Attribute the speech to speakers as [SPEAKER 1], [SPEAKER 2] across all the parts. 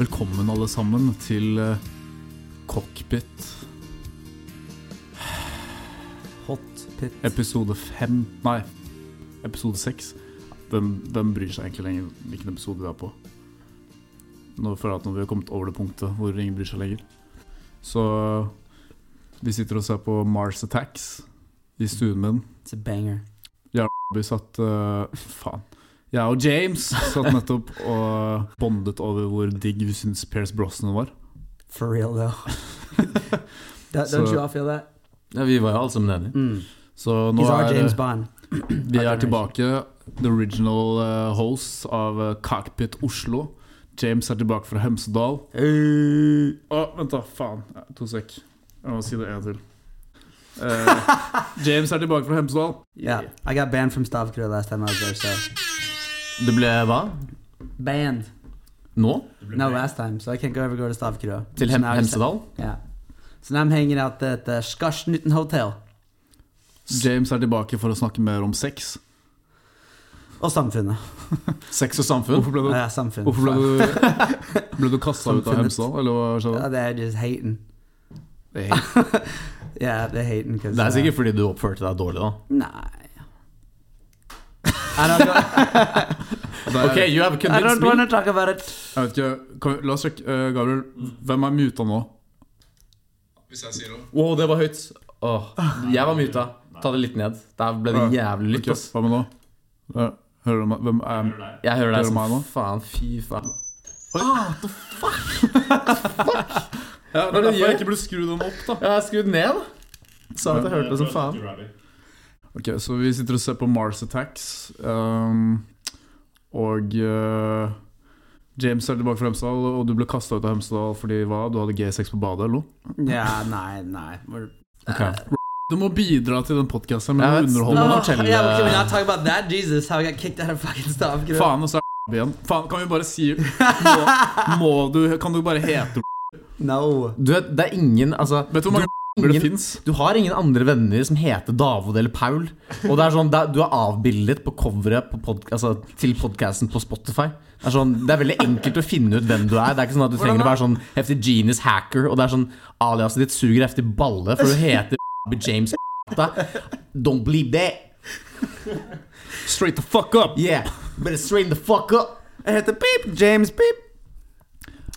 [SPEAKER 1] Velkommen alle sammen til eh, Cockpit
[SPEAKER 2] Hot pit.
[SPEAKER 1] episode fem Nei, episode seks. Den, den bryr seg egentlig lenger hvilken episode vi er på. Nå føler jeg at når vi har kommet over det punktet hvor ingen bryr seg lenger. Så vi sitter og ser på Mars Attacks i stuen min.
[SPEAKER 2] It's a banger.
[SPEAKER 1] Vi satt eh, Faen. Jeg og James satt nettopp og bondet over hvor digg vi syns Pierce Brosnan var.
[SPEAKER 2] For real, though. Don't
[SPEAKER 1] So-
[SPEAKER 2] you all feel that?
[SPEAKER 3] Ja, vi var jo alle sammen enige.
[SPEAKER 2] Mm.
[SPEAKER 1] Så nå
[SPEAKER 2] He's our
[SPEAKER 1] er
[SPEAKER 2] James
[SPEAKER 1] det
[SPEAKER 2] Bond.
[SPEAKER 1] Vi er tilbake. The original eh, hosts av eh, Cockpit Oslo. James er tilbake fra Hemsedal.
[SPEAKER 2] Hey.
[SPEAKER 1] Å, vent, da. Faen. Ja, To sek. Jeg må si det en til. Eh, James er tilbake fra Hemsedal.
[SPEAKER 2] Yeah, I got banned from Stavkro last time I was there, so.
[SPEAKER 3] Det ble hva?
[SPEAKER 2] Banned.
[SPEAKER 3] Nå?
[SPEAKER 2] No, last time, so I can't go ever go to Stavkro.
[SPEAKER 3] Til
[SPEAKER 2] So
[SPEAKER 3] Hem
[SPEAKER 2] now I just-
[SPEAKER 3] Hemsedal?
[SPEAKER 2] Yeah. So now I'm hanging out at the Skarsnuten Hotel.
[SPEAKER 1] James er tilbake for å snakke mer om sex.
[SPEAKER 2] Og Samfunnet.
[SPEAKER 3] Sex og samfunn?
[SPEAKER 1] Hvorfor ble du,
[SPEAKER 2] Ja, samfunnet.
[SPEAKER 1] hvorfor ble du, ble du kasta ut av
[SPEAKER 2] Samfunnet.
[SPEAKER 1] Hemsedal, eller hva skjedde?
[SPEAKER 2] Yeah, they're er just hating.
[SPEAKER 1] Det er helt-
[SPEAKER 2] Yeah, they're hating. 'cause,
[SPEAKER 3] Det
[SPEAKER 2] uh,
[SPEAKER 3] er sikkert fordi du oppførte deg dårlig, da.
[SPEAKER 2] Nei. I don't, go,
[SPEAKER 1] det er-
[SPEAKER 3] Ok, you have
[SPEAKER 2] I don't
[SPEAKER 3] convinced
[SPEAKER 2] want
[SPEAKER 3] me.
[SPEAKER 2] to talk about it.
[SPEAKER 1] Jeg vet ikke, kan, vi- La oss sjekke. eh, Gabriel, hvem er muta nå? Hvis jeg sier noe.
[SPEAKER 3] Wow, det var høyt. Åh, jeg var muta. Ta det litt ned. Der ble det jævlig lytt. ass.
[SPEAKER 1] Hva med nå? Eh, Hører du meg? Hvem er
[SPEAKER 3] Jeg hører
[SPEAKER 1] Hører
[SPEAKER 3] deg
[SPEAKER 1] du meg nå?
[SPEAKER 3] som faen. Fy faen.
[SPEAKER 1] Ja, det er derfor jeg ikke ble skrudd den opp, da.
[SPEAKER 3] Jeg har skrudd ned. Sa at jeg hørte det som faen.
[SPEAKER 1] Ok, Så vi sitter og ser på Mars Attacks. ehm, og eh, James er tilbake fra Hemsedal, og du ble kasta ut av Hemsedal fordi hva? Du hadde G6 på badet, eller noe?
[SPEAKER 2] Ja, nei, nei. We're,
[SPEAKER 1] Ok. Du må bidra til den podkasten med
[SPEAKER 3] Jeg
[SPEAKER 1] noe
[SPEAKER 3] vet.
[SPEAKER 1] underholdende.
[SPEAKER 3] Nå må
[SPEAKER 2] Oh,
[SPEAKER 3] fortelle-
[SPEAKER 2] yeah, well, can we not talk about that? Jesus, how I got kicked out of fucking stuff. you know?
[SPEAKER 1] Faen, og så er igjen. Faen, kan vi bare si må, må du Kan du bare hete
[SPEAKER 2] No.
[SPEAKER 3] Du vet, det er ingen Altså
[SPEAKER 1] Vet du hvor mange
[SPEAKER 3] du,
[SPEAKER 1] det
[SPEAKER 3] ingen,
[SPEAKER 1] fins?
[SPEAKER 3] du har ingen andre venner som heter Davod eller Paul. Og det er sånn, det er, Du er avbildet på coveret på pod, altså, til podkasten på Spotify. Det er, sånn, det er veldig enkelt å finne ut hvem du er. Det er ikke sånn at Du trenger å være sånn heftig genius hacker. Og det er sånn Aliaset ditt suger heftig balle, for du heter James Don't believe that.
[SPEAKER 1] Straight the fuck up!
[SPEAKER 3] Yeah. Better straighten the fuck up.
[SPEAKER 2] I hit the beep, James beep.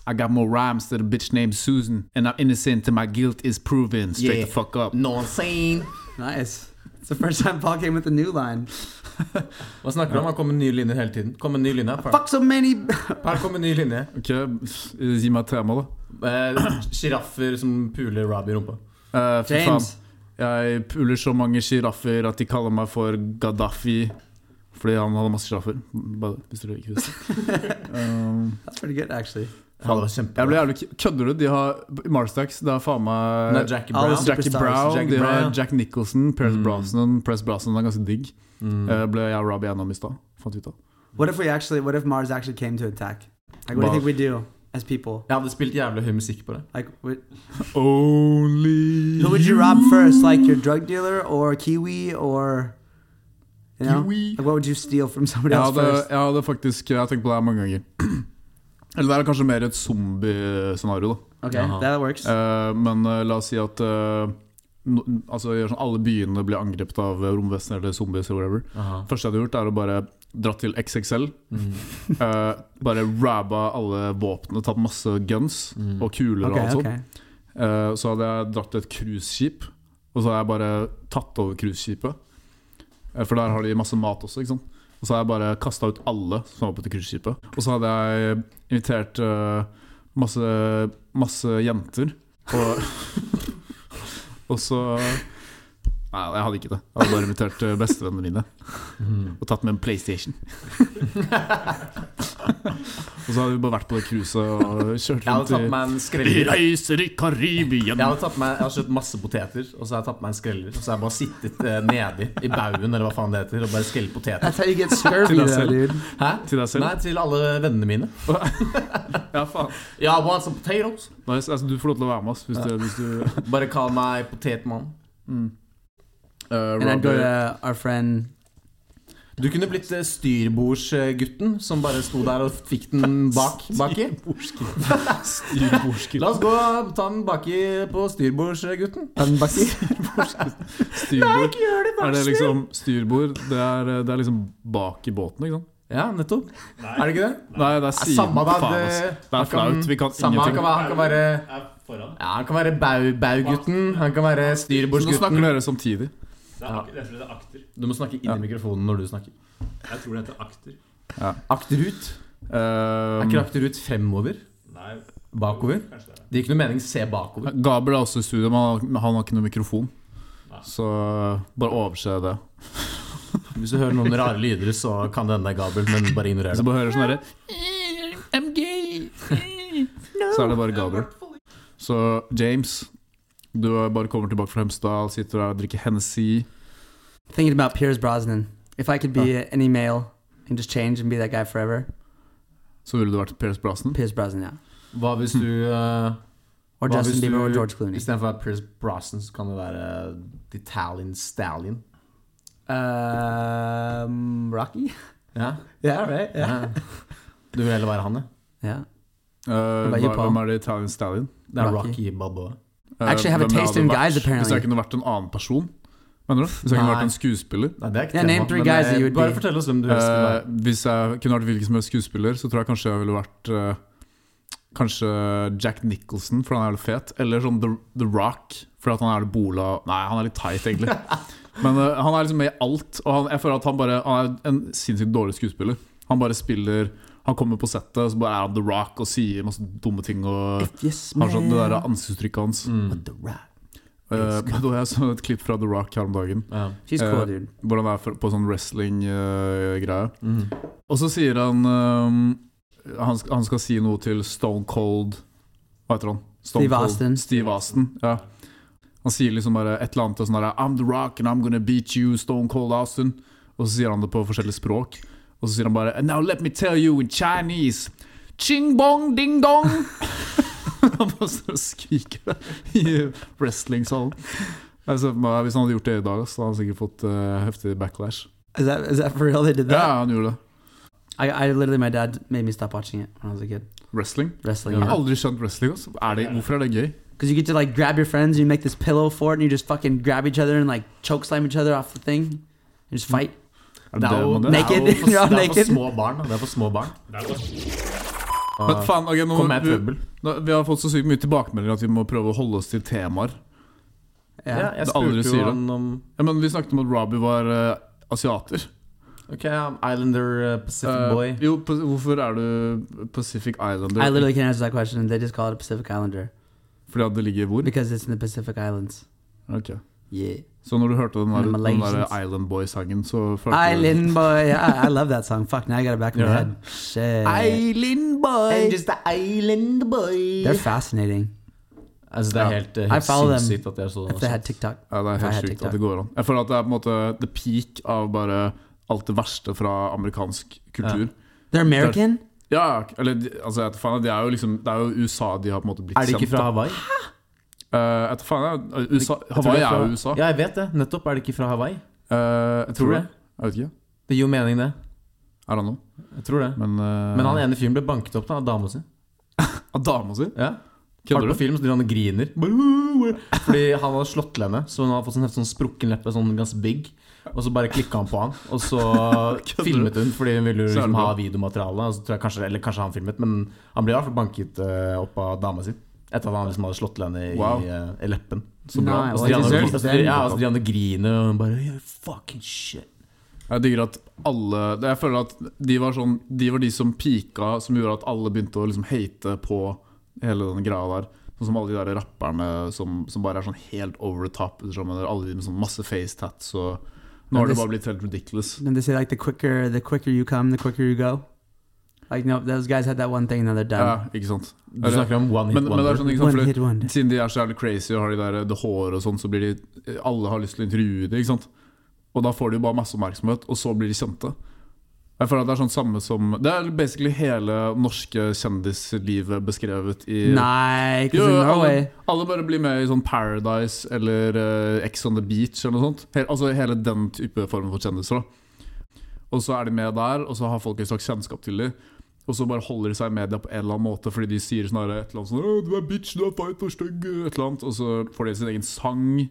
[SPEAKER 1] I got more rhymes than a bitch named Susan, and I'm innocent till my guilt is proven. Straight
[SPEAKER 3] Yeah.
[SPEAKER 1] the fuck up.
[SPEAKER 3] No insane.
[SPEAKER 2] Nice. It's the first time Paul came with a new line.
[SPEAKER 3] Hva snakker du om? Han kommer med nye linjer hele tiden. Kom med nye linjer. Paul.
[SPEAKER 2] Fuck so many.
[SPEAKER 3] Paul kom med nye linjer.
[SPEAKER 1] Ok, gi meg et tema, da.
[SPEAKER 3] Eh, Sjiraffer som puler Robbie i rumpa.
[SPEAKER 1] Eh, fy faen.
[SPEAKER 2] James.
[SPEAKER 1] Jeg puler så mange sjiraffer at de kaller meg for Gaddafi. Fordi han hadde masse sjiraffer. Bare Hvis dere ikke visste. Um,
[SPEAKER 2] That's pretty good, actually.
[SPEAKER 3] Ja, det var kjempe-
[SPEAKER 1] jeg ble jævlig k- Kødder du? De har Marstax, det er faen meg
[SPEAKER 3] Nei, Jackie
[SPEAKER 2] Alle Superstars.
[SPEAKER 3] Brown.
[SPEAKER 1] Jackie Brown,
[SPEAKER 3] Jackie
[SPEAKER 1] de har
[SPEAKER 3] Brown.
[SPEAKER 1] Jack Nicholson, Perez
[SPEAKER 3] Mm.
[SPEAKER 1] Brosnan. Perez Brosnan er ganske digg. Eh, ble jeg og Robbie enige om i stad. Fant ut av.
[SPEAKER 2] What if we actually, what if Mars actually came to attack? Like, what do you
[SPEAKER 1] Mars.
[SPEAKER 2] think we do as people?
[SPEAKER 3] Jeg hadde spilt jævlig høy musikk på det.
[SPEAKER 2] Like, would-
[SPEAKER 1] Only
[SPEAKER 2] who would you rob first? Like your drug dealer or Kiwi or, you know?
[SPEAKER 1] Kiwi.
[SPEAKER 2] Like, what would you steal from somebody
[SPEAKER 1] Jeg
[SPEAKER 2] else
[SPEAKER 1] hadde,
[SPEAKER 2] first?
[SPEAKER 1] jeg hadde faktisk Jeg har tenkt på det her mange ganger. Eller det er kanskje mer et zombiescenario, da.
[SPEAKER 2] Okay,
[SPEAKER 3] Uh-huh.
[SPEAKER 2] that works.
[SPEAKER 1] Eh, men eh, la oss si at eh, no, altså, gjør sånn, alle byene blir angrepet av eh, romvesener eller zombies eller whatever. Det første jeg hadde gjort, er å bare dratt til XXL.
[SPEAKER 3] Mm.
[SPEAKER 1] eh, bare rabba alle våpnene, tatt masse guns
[SPEAKER 3] Mm.
[SPEAKER 1] og kuler og
[SPEAKER 2] Okay,
[SPEAKER 1] alt sånt.
[SPEAKER 2] okay.
[SPEAKER 1] Eh, så hadde jeg dratt til et cruiseskip, og så hadde jeg bare tatt over cruiseskipet. Eh, for der har de masse mat også, ikke sant. Og så hadde jeg bare kasta ut alle som var på det cruiseskipet. Og så hadde jeg invitert eh, masse, masse jenter. Og, og så Nei, jeg hadde ikke det. Jeg hadde bare invitert eh, bestevennene mine
[SPEAKER 3] Mm.
[SPEAKER 1] og tatt med en PlayStation. og så hadde vi bare vært på det cruiset og kjørt
[SPEAKER 3] Jeg hadde
[SPEAKER 1] rundt i
[SPEAKER 3] tatt meg en
[SPEAKER 1] Vi
[SPEAKER 3] skreller.
[SPEAKER 1] reiser i Karibien.
[SPEAKER 3] Jeg hadde, tatt meg, jeg hadde kjøpt masse poteter, og så hadde jeg tatt meg en skreller. Og så hadde jeg bare sittet eh, nedi i baugen, eller hva faen det heter, og bare skrellet poteter.
[SPEAKER 2] That's how you get scurvy,
[SPEAKER 1] That's
[SPEAKER 2] though, dude.
[SPEAKER 3] Hæ?
[SPEAKER 1] Til deg selv?
[SPEAKER 3] Nei, til alle vennene mine.
[SPEAKER 1] Ja, faen.
[SPEAKER 3] Ja, want some potatoes?
[SPEAKER 1] Nice. Altså, du får lov til å være med oss hvis du, hvis du
[SPEAKER 3] Bare kall meg potetmann.
[SPEAKER 1] Eh,
[SPEAKER 2] And I'd go
[SPEAKER 1] Robbie-
[SPEAKER 2] to our friend
[SPEAKER 3] Du kunne blitt eh, styrbordsgutten som bare sto der og fikk den bak, baki.
[SPEAKER 1] Styrbordskille.
[SPEAKER 3] La oss gå og ta den baki på styrbordsgutten.
[SPEAKER 1] Styrbord.
[SPEAKER 3] gjør det,
[SPEAKER 1] Er det liksom styrbord? Det er, det er liksom bak i båten, ikke sant?
[SPEAKER 3] Ja, nettopp. Er det ikke det?
[SPEAKER 1] Nei, det er siden.
[SPEAKER 3] Samme da,
[SPEAKER 1] Faen,
[SPEAKER 3] det-
[SPEAKER 1] ass. Det
[SPEAKER 3] han
[SPEAKER 1] er
[SPEAKER 3] kan-
[SPEAKER 1] flaut. Vi kan
[SPEAKER 3] samme, han kan
[SPEAKER 1] ingenting.
[SPEAKER 3] være- han kan være
[SPEAKER 4] er foran.
[SPEAKER 3] Ja, han kan være bau- Bau-gutten, han kan være
[SPEAKER 1] Så nå snakker
[SPEAKER 3] styrbordsgutten.
[SPEAKER 1] dere samtidig.
[SPEAKER 4] Det er, ak jeg tror det er akter.
[SPEAKER 3] Du må snakke inn i mikrofonen når du snakker.
[SPEAKER 4] Jeg tror det heter akter.
[SPEAKER 3] Akterut.
[SPEAKER 1] Eh,
[SPEAKER 3] Er ikke akterut fremover?
[SPEAKER 4] Nei,
[SPEAKER 3] Bakover?
[SPEAKER 4] kanskje det er det.
[SPEAKER 3] Det gir ikke noe mening. Se bakover.
[SPEAKER 1] Gabriel er også i studio, men han- han har ikke noen mikrofon.
[SPEAKER 4] Nei.
[SPEAKER 1] Så eh, bare overse det.
[SPEAKER 3] Hvis du hører noen rare lyder, så kan det hende det er Gabel, men bare ignorer
[SPEAKER 1] Hvis du
[SPEAKER 3] det.
[SPEAKER 1] bare hører sånn herre
[SPEAKER 5] I'm gay.
[SPEAKER 1] så er det bare Gabriel. Så James, du er bare kommer tilbake fra Hemsedal, sitter der og drikker Hennessy.
[SPEAKER 2] Thinking about Piers Brosnan. If I could be any male and just change and be that guy forever,
[SPEAKER 1] Så ville du vært Pierce Brosnan.
[SPEAKER 2] Piers Brosnan, yeah.
[SPEAKER 3] Hva hvis du uh,
[SPEAKER 2] Or
[SPEAKER 3] Well,
[SPEAKER 2] Justin
[SPEAKER 3] obviously-
[SPEAKER 2] Bieber or George Clooney.
[SPEAKER 3] Istedenfor å være Pierce Brosnan, så kan det være eh, The Italian Stallion.
[SPEAKER 2] Um, Rocky?
[SPEAKER 3] Ja?
[SPEAKER 2] Yeah, right?
[SPEAKER 3] ja. Du vil heller være han, ja?
[SPEAKER 2] Yeah.
[SPEAKER 1] Eh,
[SPEAKER 2] about
[SPEAKER 1] hva-
[SPEAKER 2] you, Paul?
[SPEAKER 1] hvem er det Italian Stallion?
[SPEAKER 3] Det er
[SPEAKER 2] Rocky.
[SPEAKER 3] Rocky Balboa.
[SPEAKER 1] Eh,
[SPEAKER 2] Actually, I have a
[SPEAKER 1] hvem det
[SPEAKER 2] taste
[SPEAKER 1] hadde
[SPEAKER 2] in
[SPEAKER 1] vært?
[SPEAKER 2] guys, apparently.
[SPEAKER 1] Hvis jeg kunne vært en annen person? Mener du? Hvis jeg kunne
[SPEAKER 3] Nei.
[SPEAKER 1] vært en skuespiller?
[SPEAKER 3] Nei, det er ikke
[SPEAKER 2] Yeah, name three
[SPEAKER 3] men,
[SPEAKER 2] guys that
[SPEAKER 3] eh,
[SPEAKER 2] you would
[SPEAKER 3] Bare
[SPEAKER 2] be.
[SPEAKER 3] fortell oss hvem du helst vil
[SPEAKER 1] Eh,
[SPEAKER 3] være.
[SPEAKER 1] hvis jeg kunne vært hvilken som helst skuespiller, så tror jeg kanskje jeg ville vært eh, Kanskje Jack Nicholson, for han er litt fet. Eller sånn The, The Rock, for at han er litt bola Nei, han er litt tight, egentlig. Men eh, han er liksom med i alt, og han, jeg føler at han bare Han er en sinnssykt dårlig skuespiller. Han bare spiller Han kommer på settet, og så bare er han The Rock og sier masse dumme ting og
[SPEAKER 2] Yes,
[SPEAKER 1] har sånn det
[SPEAKER 2] man.
[SPEAKER 1] der ansiktstrykket hans.
[SPEAKER 3] Mm.
[SPEAKER 2] The Rock.
[SPEAKER 1] Eh, men da jeg så et klipp fra The Rock her om dagen,
[SPEAKER 3] Ja.
[SPEAKER 2] She's cool,
[SPEAKER 1] Eh,
[SPEAKER 2] dude.
[SPEAKER 1] hvor han er for, på sånn wrestling-greie.
[SPEAKER 3] Mm.
[SPEAKER 1] Og så sier han ehm, han, sk- han skal si noe til Stone Cold Hva heter han? Stone
[SPEAKER 2] Steve
[SPEAKER 1] Cold-
[SPEAKER 2] Austin.
[SPEAKER 1] Steve Austin, ja Han sier liksom bare et eller annet og sånn der I'm the rock and I'm gonna beat you, Stone Cold Austin Og så sier han det på forskjellige språk Og så sier han bare And now let me tell you in Chinese Ching bong ding dong Han bare står og skriker det I wrestling-salen Jeg ser for meg, Hvis han hadde gjort det i dag Så hadde han sikkert fått eh, heftig backlash
[SPEAKER 2] Is that is that for real? They did that.
[SPEAKER 1] Ja, han gjorde det
[SPEAKER 2] I, I literally, my dad made me stop watching it when I was a kid.
[SPEAKER 1] Wrestling
[SPEAKER 2] Wrestling.
[SPEAKER 1] Jeg har
[SPEAKER 2] Because
[SPEAKER 1] aldri skjønt wrestling. Altså. Er det, hvorfor er det gøy?
[SPEAKER 2] you get to like grab your friends, you make this pillow for it, and you just fucking grab each other and like choke slam each other off the thing, and just fight.
[SPEAKER 1] Er det det man
[SPEAKER 3] det
[SPEAKER 1] gjør?
[SPEAKER 2] Naked.
[SPEAKER 3] er jo for,
[SPEAKER 2] Ja,
[SPEAKER 3] det er for
[SPEAKER 2] naked.
[SPEAKER 3] små barn. da. Det er for små barn.
[SPEAKER 4] Det er godt.
[SPEAKER 1] Men faen, ok, nå,
[SPEAKER 3] Kom med i
[SPEAKER 1] vi,
[SPEAKER 3] trøbbel.
[SPEAKER 1] nå, vi har fått så sykt mye tilbakemeldinger at vi må prøve å holde oss til temaer.
[SPEAKER 2] Yeah.
[SPEAKER 3] Ja, jeg
[SPEAKER 1] Det aldri
[SPEAKER 3] spurte
[SPEAKER 1] sier det.
[SPEAKER 3] jo han om
[SPEAKER 1] Ja, men vi snakket om at Robbie var eh, asiater.
[SPEAKER 3] Ok, ja, Islander eh, Pacific
[SPEAKER 1] Eh,
[SPEAKER 3] Boy.
[SPEAKER 1] jo, pa- hvorfor er du Pacific Islander?
[SPEAKER 2] I literally can't answer that question. They just call it a Pacific Islander
[SPEAKER 1] Fordi at det ligger hvor?
[SPEAKER 2] because it's in the Pacific Islands.
[SPEAKER 1] Ok.
[SPEAKER 2] Yeah.
[SPEAKER 1] Så når du hørte den der,
[SPEAKER 2] The
[SPEAKER 1] den der
[SPEAKER 2] Malaysians.
[SPEAKER 1] Island Boy-sangen, så følte
[SPEAKER 2] Island boy. Yeah, I, I love that song. Fuck, now I got it back in my
[SPEAKER 3] Yeah.
[SPEAKER 2] head. Shit.
[SPEAKER 1] du Island Boy!
[SPEAKER 3] just an island boy.
[SPEAKER 2] They're fascinating.
[SPEAKER 3] Altså, det er helt, eh,
[SPEAKER 2] I
[SPEAKER 3] helt
[SPEAKER 2] follow them.
[SPEAKER 3] sinnssykt at det er så
[SPEAKER 2] If they had TikTok.
[SPEAKER 1] Ja, det er
[SPEAKER 2] Nei,
[SPEAKER 1] helt
[SPEAKER 2] jeg
[SPEAKER 1] sjukt
[SPEAKER 2] tenkte-
[SPEAKER 1] at det går an. Jeg føler at det er på en måte the peak av bare alt det verste fra amerikansk kultur.
[SPEAKER 2] They're American?
[SPEAKER 1] Ja, eller de- altså, jeg vet faen, det er jo liksom Det er jo USA de har på en måte blitt
[SPEAKER 3] Er de ikke
[SPEAKER 1] kjent
[SPEAKER 3] fra Hawaii?
[SPEAKER 1] Eh, etter faen, jeg- USA,
[SPEAKER 3] Jeg tror
[SPEAKER 1] Hawaii
[SPEAKER 3] de
[SPEAKER 1] er
[SPEAKER 3] fra-
[SPEAKER 1] jo USA.
[SPEAKER 3] Ja, jeg vet det. Nettopp. Er de ikke fra Hawaii?
[SPEAKER 1] Eh, jeg tror
[SPEAKER 3] Tror
[SPEAKER 1] det.
[SPEAKER 3] det.
[SPEAKER 1] Jeg vet ikke.
[SPEAKER 3] Det gir jo mening, det.
[SPEAKER 1] Er han nå?
[SPEAKER 3] Jeg tror det.
[SPEAKER 1] Men, eh,
[SPEAKER 3] Men han ene fyren ble banket opp da, av dama si.
[SPEAKER 1] Av dama si?
[SPEAKER 3] Ja. Har
[SPEAKER 1] Kødder
[SPEAKER 3] du
[SPEAKER 1] du?
[SPEAKER 3] på film så driver han og griner. Bare- Fordi han hadde slått til henne, så hun hadde fått sånn, sånn sprukken leppe, sånn ganske big. Og så bare klikka han på han, og så
[SPEAKER 1] Kødder du?
[SPEAKER 3] filmet hun fordi hun ville jo
[SPEAKER 1] Så er det
[SPEAKER 3] liksom ha
[SPEAKER 1] bra.
[SPEAKER 3] videomateriale. og så tror jeg kanskje, eller kanskje han filmet, men han ble i hvert fall banket eh, opp av dama si. Etter at han liksom hadde slått til henne i,
[SPEAKER 1] Wow.
[SPEAKER 3] eh, i leppen.
[SPEAKER 1] Så bra.
[SPEAKER 2] Nei,
[SPEAKER 3] Og så
[SPEAKER 2] I
[SPEAKER 3] driver han
[SPEAKER 2] deserve
[SPEAKER 3] og- og så
[SPEAKER 2] them.
[SPEAKER 3] driver- ja, og så driver han og griner og hun bare You're fucking shit.
[SPEAKER 1] Jeg digger at alle det- Jeg føler at de var sånn De var de som pika, som gjorde at alle begynte å liksom hate på hele den greia der. Sånn som alle de der rapperne som, som bare er sånn helt over the top. liksom, eller Alle de med sånn masse face tats og Nå har det bare blitt helt ridiculous.
[SPEAKER 2] Then they say like the quicker the quicker you come, the quicker you go. Like no, those guys had that one thing and then they're done.
[SPEAKER 1] Ja, ikke sant?
[SPEAKER 3] Du snakker om one hit
[SPEAKER 1] Men, men det er
[SPEAKER 3] wonder.
[SPEAKER 1] sånn, ikke sant,
[SPEAKER 2] one
[SPEAKER 1] fordi
[SPEAKER 2] hit wonder.
[SPEAKER 1] Siden de er så jævlig crazy og har de der, det håret og sånn, så blir de Alle har lyst til å intervjue dem, ikke sant? Og da får de jo bare masse oppmerksomhet, og så blir de kjente. Jeg føler at Det er sånn samme som Det er basically hele norske kjendislivet beskrevet i
[SPEAKER 2] Nei,
[SPEAKER 1] Jo,
[SPEAKER 2] because in
[SPEAKER 1] alle,
[SPEAKER 2] Norway,
[SPEAKER 1] alle bare blir med i sånn Paradise eller eh, Ex on the Beach eller noe sånt. Hele, altså hele den type formen for kjendiser. da Og så er de med der, og så har folk et slags kjennskap til dem. Og så bare holder de seg i media på en eller annen måte fordi de sier sånn her et eller annet sånn «Å, 'Du er bitch, du er feit og stygg', et eller annet. Og så får de sin egen sang.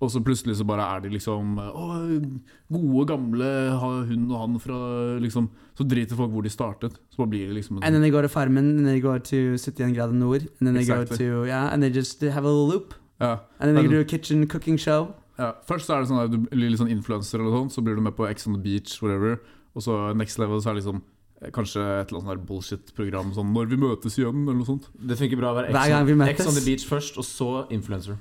[SPEAKER 1] Og så plutselig så bare er de liksom Å, gode, gamle ha- hun og han fra liksom Så driter folk hvor de startet. Så bare blir det liksom en
[SPEAKER 2] And then they go to Farmen, and they go to 71 grader nord, and then they
[SPEAKER 1] Exactly.
[SPEAKER 2] go to yeah, and they just have a little loop,
[SPEAKER 1] ja.
[SPEAKER 2] and then they
[SPEAKER 1] And-
[SPEAKER 2] do a kitchen cooking show.
[SPEAKER 1] Ja, først så er det sånn at du blir litt sånn influencer eller sånn, så blir du med på X on the beach, whatever. Og så next level så er det liksom eh, kanskje et eller annet sånn her bullshit-program sånn 'Når vi møtes igjen', eller noe sånt.
[SPEAKER 3] sånn, Det funker bra å være
[SPEAKER 2] Hver gang vi
[SPEAKER 3] Ex-
[SPEAKER 2] møtes.
[SPEAKER 3] Ex on the beach først, og så influencer.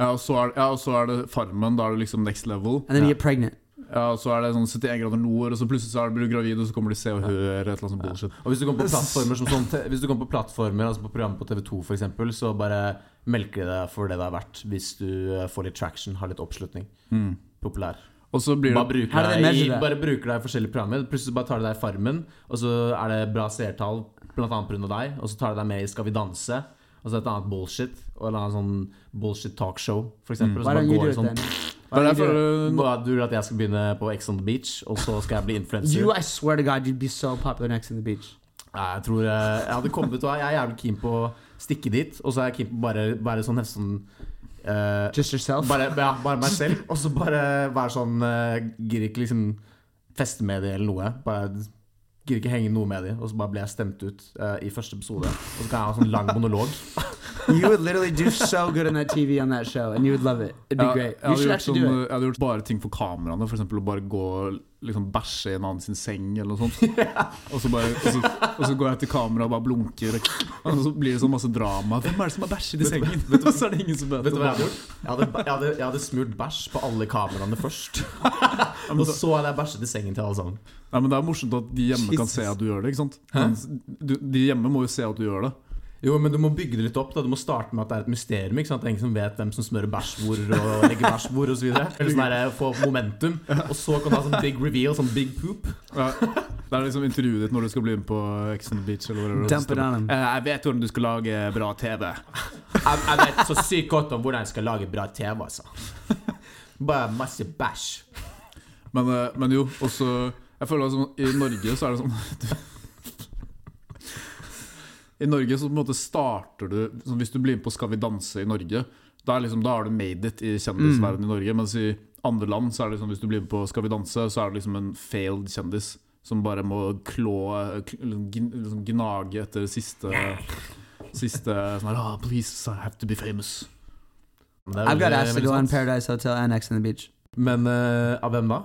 [SPEAKER 1] Ja, og så er, ja, og så er det Farmen, da er det liksom next level.
[SPEAKER 2] And then
[SPEAKER 3] Yeah.
[SPEAKER 2] you get pregnant.
[SPEAKER 1] Ja, og så er det sånn 71 grader nord, og så plutselig så er det, blir du gravid, og så kommer de Se og
[SPEAKER 3] Ja.
[SPEAKER 1] Hør, et eller annet sånn
[SPEAKER 3] Ja.
[SPEAKER 1] bullshit.
[SPEAKER 3] Og hvis du kommer på plattformer som sånn Hvis du kommer på plattformer Altså på programmet på TV2 for eksempel Så bare melker de deg for det det er verdt Hvis du eh, får litt traction Har litt oppslutning
[SPEAKER 1] Mm.
[SPEAKER 3] Populær
[SPEAKER 1] Og så blir
[SPEAKER 3] Bare
[SPEAKER 1] det
[SPEAKER 2] How do they
[SPEAKER 3] bruker deg i,
[SPEAKER 2] measure that?
[SPEAKER 3] bare bruker deg i forskjellige programmer Plutselig bare tar de deg i farmen Og så er det bra seertall Blant annet på grunn av deg Og så tar de deg med i Skal vi danse Og så et annet bullshit Og en eller annen sånn bullshit talkshow For eksempel Og
[SPEAKER 2] Why don't
[SPEAKER 3] så bare
[SPEAKER 2] you do
[SPEAKER 3] går
[SPEAKER 2] it
[SPEAKER 3] det
[SPEAKER 2] then?
[SPEAKER 3] sånn
[SPEAKER 1] Det er
[SPEAKER 2] Why don't you
[SPEAKER 1] derfor
[SPEAKER 2] do it?
[SPEAKER 1] eh,
[SPEAKER 3] Hva du vil at jeg skal begynne på X on the beach Og så skal jeg bli influencer
[SPEAKER 2] You, I swear to God, you'd be so popular next in the beach.
[SPEAKER 3] Nei, jeg tror eh, jeg hadde kommet ut og jeg er jævlig keen på å stikke dit. Og så er jeg keen på bare, bare sånn nesten eh,
[SPEAKER 2] Just yourself.
[SPEAKER 3] bare, ja, bare meg selv. Og så bare være sånn uh, Gir ikke liksom feste med de eller noe. Bare Gir ikke henge noe med de. Og så bare ble jeg stemt ut eh, i første episode. Og så kan jeg ha sånn lang monolog.
[SPEAKER 2] you would literally do so good on that TV on that show, and you would love it. It'd be
[SPEAKER 1] ja,
[SPEAKER 2] great.
[SPEAKER 1] Jeg
[SPEAKER 2] You
[SPEAKER 1] hadde, gjort
[SPEAKER 2] should
[SPEAKER 1] sånn,
[SPEAKER 2] actually do it.
[SPEAKER 1] jeg hadde gjort bare ting for kameraene, f.eks. å bare gå og liksom bæsje i en annen sin seng, eller noe sånt. og, så bare, og, så, og så går jeg til kamera og bare blunker, og så blir det sånn masse drama. Hvem er det som har bæsjet i sengen? Og så er det ingen som vet
[SPEAKER 3] Vet du
[SPEAKER 1] det.
[SPEAKER 3] hva jeg hadde gjort? Jeg hadde, jeg hadde, jeg hadde smurt bæsj på alle kameraene først. og så hadde jeg bæsjet i sengen til alle sammen.
[SPEAKER 1] Nei, men det er morsomt at de hjemme kan
[SPEAKER 3] Jesus.
[SPEAKER 1] se at du gjør det. ikke sant? Men Du, de hjemme må jo se at du gjør det.
[SPEAKER 3] Jo, men du må bygge det litt opp. da Du må starte med at det er et mysterium. ikke sant? Det er Ingen som vet hvem som smører bæsj hvor og legger bæsj hvor osv. Eller sånn der, få momentum. Og så kan du ha sånn big reveal, sånn big poop.
[SPEAKER 1] Ja, det er liksom intervjuet ditt når du skal bli med på Ex on the Beach. eller whatever.
[SPEAKER 2] Dump it on him.
[SPEAKER 1] Eh, Jeg vet hvordan du skal lage bra TV.
[SPEAKER 3] Jeg, jeg vet så sykt godt om hvordan jeg skal lage bra TV, altså. Bare masse bæsj.
[SPEAKER 1] Men, eh, men jo, også Jeg føler at sånn, i Norge så er det sånn I Norge så på en måte starter du sånn, Hvis du blir med på Skal vi danse i Norge, da, er liksom, da har du made it i
[SPEAKER 3] Mm.
[SPEAKER 1] kjendisverdenen i Norge. Mens i andre land så er det liksom, hvis du blir med på Skal vi danse, så er du liksom en failed kjendis. Som bare må klå kl- liksom, gn- liksom, Gnage etter det siste Siste sånn her ah, Please, I have to be famous.
[SPEAKER 3] Men det er
[SPEAKER 2] I've got
[SPEAKER 3] veldig-
[SPEAKER 2] asked to
[SPEAKER 3] veldig
[SPEAKER 2] go on
[SPEAKER 3] sant.
[SPEAKER 2] Paradise Hotel and X on the Beach.
[SPEAKER 3] Men eh, av hvem da?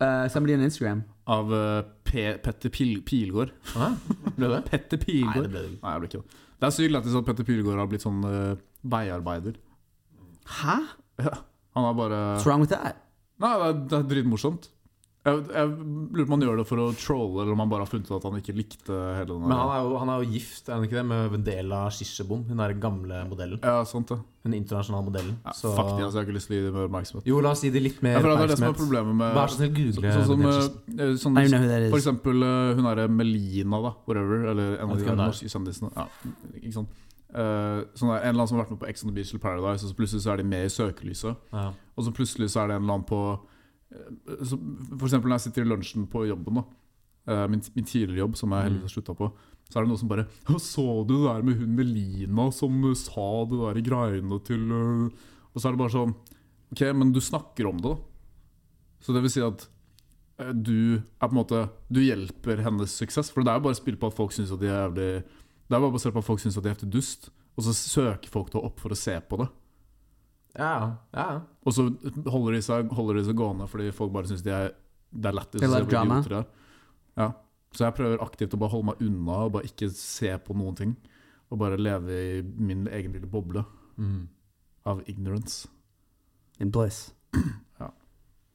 [SPEAKER 2] Uh, somebody on Instagram.
[SPEAKER 1] Av eh, Pe Petter Pil Pilgaard.
[SPEAKER 3] Hæ? Ble det?
[SPEAKER 1] Petter
[SPEAKER 3] Nei,
[SPEAKER 1] Pilgaard.
[SPEAKER 3] det ble det ikke.
[SPEAKER 1] Nei, jeg ble ikke det. Det er sykt lættis at Petter Pilgaard har blitt sånn eh, veiarbeider.
[SPEAKER 2] Huh?
[SPEAKER 1] Han er bare
[SPEAKER 2] What's wrong with that?
[SPEAKER 1] Nei, det er, det er dritmorsomt. Jeg, jeg lurer på om han gjør det for å trolle, eller om han bare har funnet ut at han ikke likte hele den
[SPEAKER 3] Men han er, jo, han er jo gift, er han ikke det, med Vendela Shishebom? Hun er den gamle modellen.
[SPEAKER 1] Ja, sant det.
[SPEAKER 3] Hun internasjonale modellen.
[SPEAKER 1] Ja,
[SPEAKER 3] Så
[SPEAKER 1] Fuck de, altså. Jeg har ikke lyst til å gi dem mer oppmerksomhet.
[SPEAKER 3] Jo, la oss gi det litt mer
[SPEAKER 1] Jeg føler at det er det som er
[SPEAKER 3] oppmerksomhet.
[SPEAKER 1] problemet med
[SPEAKER 3] Vær så snill, google
[SPEAKER 1] Sånn som
[SPEAKER 3] Vendela
[SPEAKER 1] eh, eh, sånn,
[SPEAKER 2] I don't even know who that
[SPEAKER 1] For
[SPEAKER 2] is.
[SPEAKER 1] eksempel eh, hun derre Melina, da. Whatever. Eller en av
[SPEAKER 3] Jeg
[SPEAKER 1] de
[SPEAKER 3] vet ikke hvem det er.
[SPEAKER 1] norske kjendisene. Ja, ikke sant? Eh, sånn der, en eller annen som har vært med på Ex on the Beach eller Paradise, og så plutselig så er de med i søkelyset.
[SPEAKER 3] Ja.
[SPEAKER 1] Og så plutselig så er det en eller annen på eh, så For eksempel når jeg sitter i lunsjen på jobben, da. eh, Min, min tidligere jobb, som jeg heldigvis har slutta på. Så er det noen som bare «Å, 'Så du det der med hun Melina som eh, sa det der i greiene til eh?» Og så er det bare sånn Ok, men du snakker om det, da. Så det vil si at eh, du er på en måte Du hjelper hennes suksess. For det er jo bare spill på at folk syns at de er jævlig Det er bare basert på at folk syns at de er heftig dust, og så søker folk det opp for å se på det.
[SPEAKER 3] Ja, ja.
[SPEAKER 1] Og så holder de seg, holder de seg gående fordi folk bare syns de er, det er lættis
[SPEAKER 2] They
[SPEAKER 1] å se
[SPEAKER 2] love
[SPEAKER 1] hvor
[SPEAKER 2] drama.
[SPEAKER 1] idioter de er. Ja. Så jeg prøver aktivt å bare holde meg unna og bare ikke se på noen ting. Og bare leve i min egen lille boble
[SPEAKER 3] Mm.
[SPEAKER 1] av ignorance.
[SPEAKER 2] In bliss.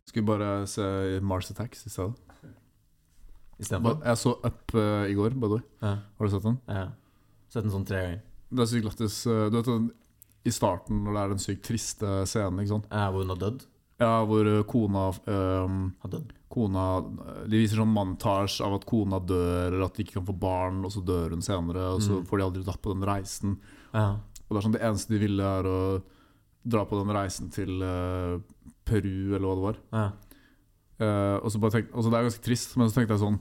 [SPEAKER 1] Skulle bare se Mars Attacks i stedet.
[SPEAKER 3] Istedenfor.
[SPEAKER 1] Jeg så Up eh, i går, by the way.
[SPEAKER 3] Ja.
[SPEAKER 1] Har du sett den?
[SPEAKER 3] ja. Sett den sånn tre ganger.
[SPEAKER 1] Det er sykt lættis. eh, Du vet den i starten når det er den sykt triste scenen, ikke sant?
[SPEAKER 3] Ja, hvor hun har dødd.
[SPEAKER 1] Ja, hvor eh, kona eh,
[SPEAKER 3] Har dødd.
[SPEAKER 1] kona De viser sånn montasje av at kona dør, eller at de ikke kan få barn, og så dør hun senere. Og så
[SPEAKER 3] Mm.
[SPEAKER 1] får de aldri dratt på den reisen.
[SPEAKER 3] Ja.
[SPEAKER 1] Og det er sånn det eneste de ville, er å dra på den reisen til eh, Peru, eller hva det var.
[SPEAKER 3] Ja.
[SPEAKER 1] Eh, og så bare tenk, og så det er ganske trist, men så tenkte jeg sånn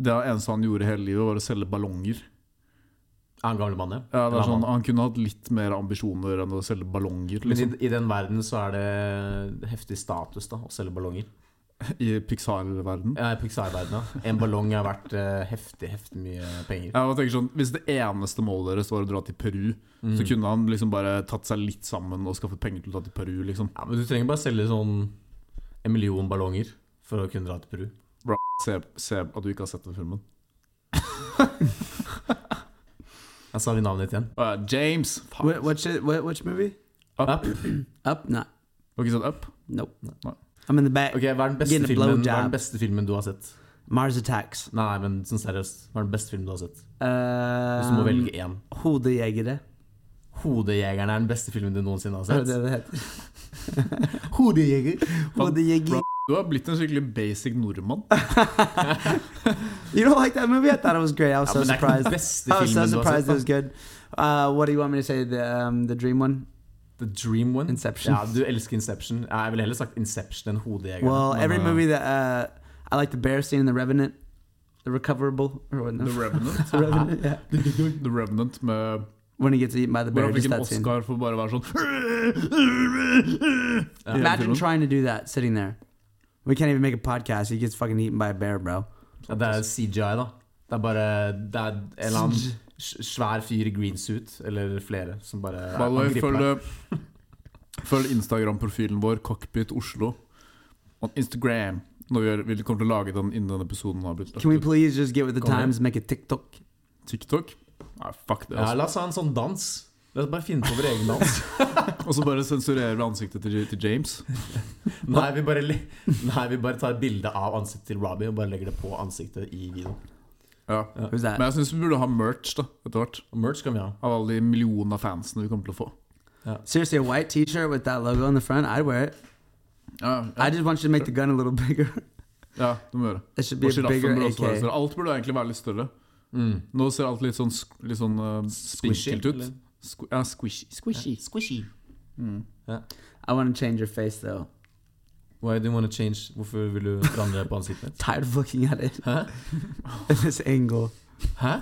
[SPEAKER 1] Det eneste han gjorde hele livet, var å selge ballonger.
[SPEAKER 3] Er han gamle mann,
[SPEAKER 1] Ja, det
[SPEAKER 3] Eller
[SPEAKER 1] er sånn,
[SPEAKER 3] han-
[SPEAKER 1] Han kunne hatt litt mer ambisjoner enn å selge ballonger.
[SPEAKER 3] Men i,
[SPEAKER 1] Liksom.
[SPEAKER 3] i den verden så er det heftig status da å selge ballonger.
[SPEAKER 1] I Pixar-verden.
[SPEAKER 3] Ja, i Pixar-verdenen. ja. En ballong er verdt eh, heftig, heftig mye penger.
[SPEAKER 1] Jeg bare tenker sånn, Hvis det eneste målet deres var å dra til Peru,
[SPEAKER 2] Mm.
[SPEAKER 3] Mm.
[SPEAKER 1] så kunne han liksom bare tatt seg litt sammen og skaffet penger til å dra til Peru. liksom
[SPEAKER 3] Ja, Men du trenger bare selge sånn en million ballonger for å kunne dra til Peru.
[SPEAKER 1] Se, se at du ikke har sett den filmen.
[SPEAKER 3] Jeg sa vi navnet ditt igjen.
[SPEAKER 1] Uh, James! Faen.
[SPEAKER 2] Wh- which, wh- which movie?
[SPEAKER 1] Up.
[SPEAKER 2] Up? Nah.
[SPEAKER 1] Har du ikke sett Up?
[SPEAKER 2] Nope.
[SPEAKER 1] No.
[SPEAKER 2] I'm in the back.
[SPEAKER 3] Ok, Hva er den beste,
[SPEAKER 2] Getting a
[SPEAKER 3] filmen, hva er
[SPEAKER 2] blowjob.
[SPEAKER 3] den beste filmen du har sett?
[SPEAKER 2] Mars Attacks.
[SPEAKER 3] Nei, nei, men sånn seriøst. Hva er den beste filmen du har sett? Hvis du må
[SPEAKER 2] Um,
[SPEAKER 3] velge én.
[SPEAKER 2] Hodejegere.
[SPEAKER 3] 'Hodejegeren' er den beste filmen du noensinne har
[SPEAKER 2] Er det det
[SPEAKER 3] sett.
[SPEAKER 2] det heter?
[SPEAKER 3] 'Hodejeger'.
[SPEAKER 2] Hodejeger.
[SPEAKER 1] Du har blitt en skikkelig basic nordmann.
[SPEAKER 2] You don't like that movie? I thought it was great. I was so
[SPEAKER 3] Ja, men det er ikke
[SPEAKER 2] surprised.
[SPEAKER 3] den
[SPEAKER 2] I
[SPEAKER 3] beste
[SPEAKER 2] was so
[SPEAKER 3] filmen du har
[SPEAKER 2] surprised it was
[SPEAKER 3] sett. da.
[SPEAKER 2] good. Uh, what do you want me to say? The um, the dream one?
[SPEAKER 3] The Dream One.
[SPEAKER 2] Inception.
[SPEAKER 3] Ja, du elsker Inception. Ja, Jeg ville heller sagt Inception enn Hodejegeren.
[SPEAKER 2] Well,
[SPEAKER 3] men,
[SPEAKER 2] every
[SPEAKER 3] eh,
[SPEAKER 2] movie that uh, I like the bear scene in The Revenant, The Recoverable, or what? No,
[SPEAKER 1] The Revenant.
[SPEAKER 2] The Revenant. Yeah.
[SPEAKER 1] The Revenant med
[SPEAKER 2] When he gets eaten by the bear,
[SPEAKER 1] Hvorfor
[SPEAKER 2] just
[SPEAKER 1] fikk en
[SPEAKER 2] that scene.
[SPEAKER 1] Oscar for bare å være sånn
[SPEAKER 3] Ja.
[SPEAKER 2] Imagine
[SPEAKER 1] filmen.
[SPEAKER 2] trying to do that sitting there. We can't even make a podcast. He gets fucking eaten by a bear, bro.
[SPEAKER 3] Ja, det er CGI, da. Det er bare Det er en eller annen s- svær fyr i green suit, eller flere, som bare
[SPEAKER 1] By the way,
[SPEAKER 3] angriper deg.
[SPEAKER 1] følg, følg Instagram-profilen vår, Cockpit Oslo, on Instagram. Når vi, gjør, vi kommer til å lage den innen denne episoden har blitt
[SPEAKER 2] Can we
[SPEAKER 1] lagt ut.
[SPEAKER 2] please just get with the
[SPEAKER 3] Go ahead.
[SPEAKER 2] times, make a TikTok?
[SPEAKER 1] TikTok. Nei, fuck det.
[SPEAKER 3] Ja,
[SPEAKER 1] Altså.
[SPEAKER 3] la oss ha en sånn dans. La oss bare finne på vår egen dans.
[SPEAKER 1] Og så bare sensurerer vi ansiktet til, til James.
[SPEAKER 3] Nei, vi bare, li- nei, vi bare tar et bilde av ansiktet til Robbie og bare legger det på ansiktet i videoen.
[SPEAKER 1] Ja.
[SPEAKER 2] Who's
[SPEAKER 1] Men
[SPEAKER 2] that?
[SPEAKER 1] jeg syns vi burde ha merch da, etter hvert.
[SPEAKER 3] Og merch kan vi ha.
[SPEAKER 1] Av alle de millionene av fansene vi kommer til å få.
[SPEAKER 2] Seriously, a white T-shirt with that logo on the front? I'd wear it.
[SPEAKER 1] Ja,
[SPEAKER 2] I just want you to make the gun a little bigger.
[SPEAKER 1] ja det må vi gjøre.
[SPEAKER 2] It should be
[SPEAKER 1] Og
[SPEAKER 2] a bigger
[SPEAKER 1] sjiraffen burde også være
[SPEAKER 2] AK.
[SPEAKER 1] større. Alt burde egentlig være litt større.
[SPEAKER 3] Mm.
[SPEAKER 1] Nå ser alt litt sånn, sk- litt sånn eh, spinkelt ut.
[SPEAKER 3] eller?
[SPEAKER 1] Squ ja, squishy. Squishy. squishy. Mm.
[SPEAKER 2] I want to change your face though.
[SPEAKER 3] Why do you wanna change? Hvorfor vil du forandre det på ansiktet? mitt?
[SPEAKER 2] Tired of looking at it
[SPEAKER 3] Hæ?
[SPEAKER 2] at this angle.
[SPEAKER 3] Hæ?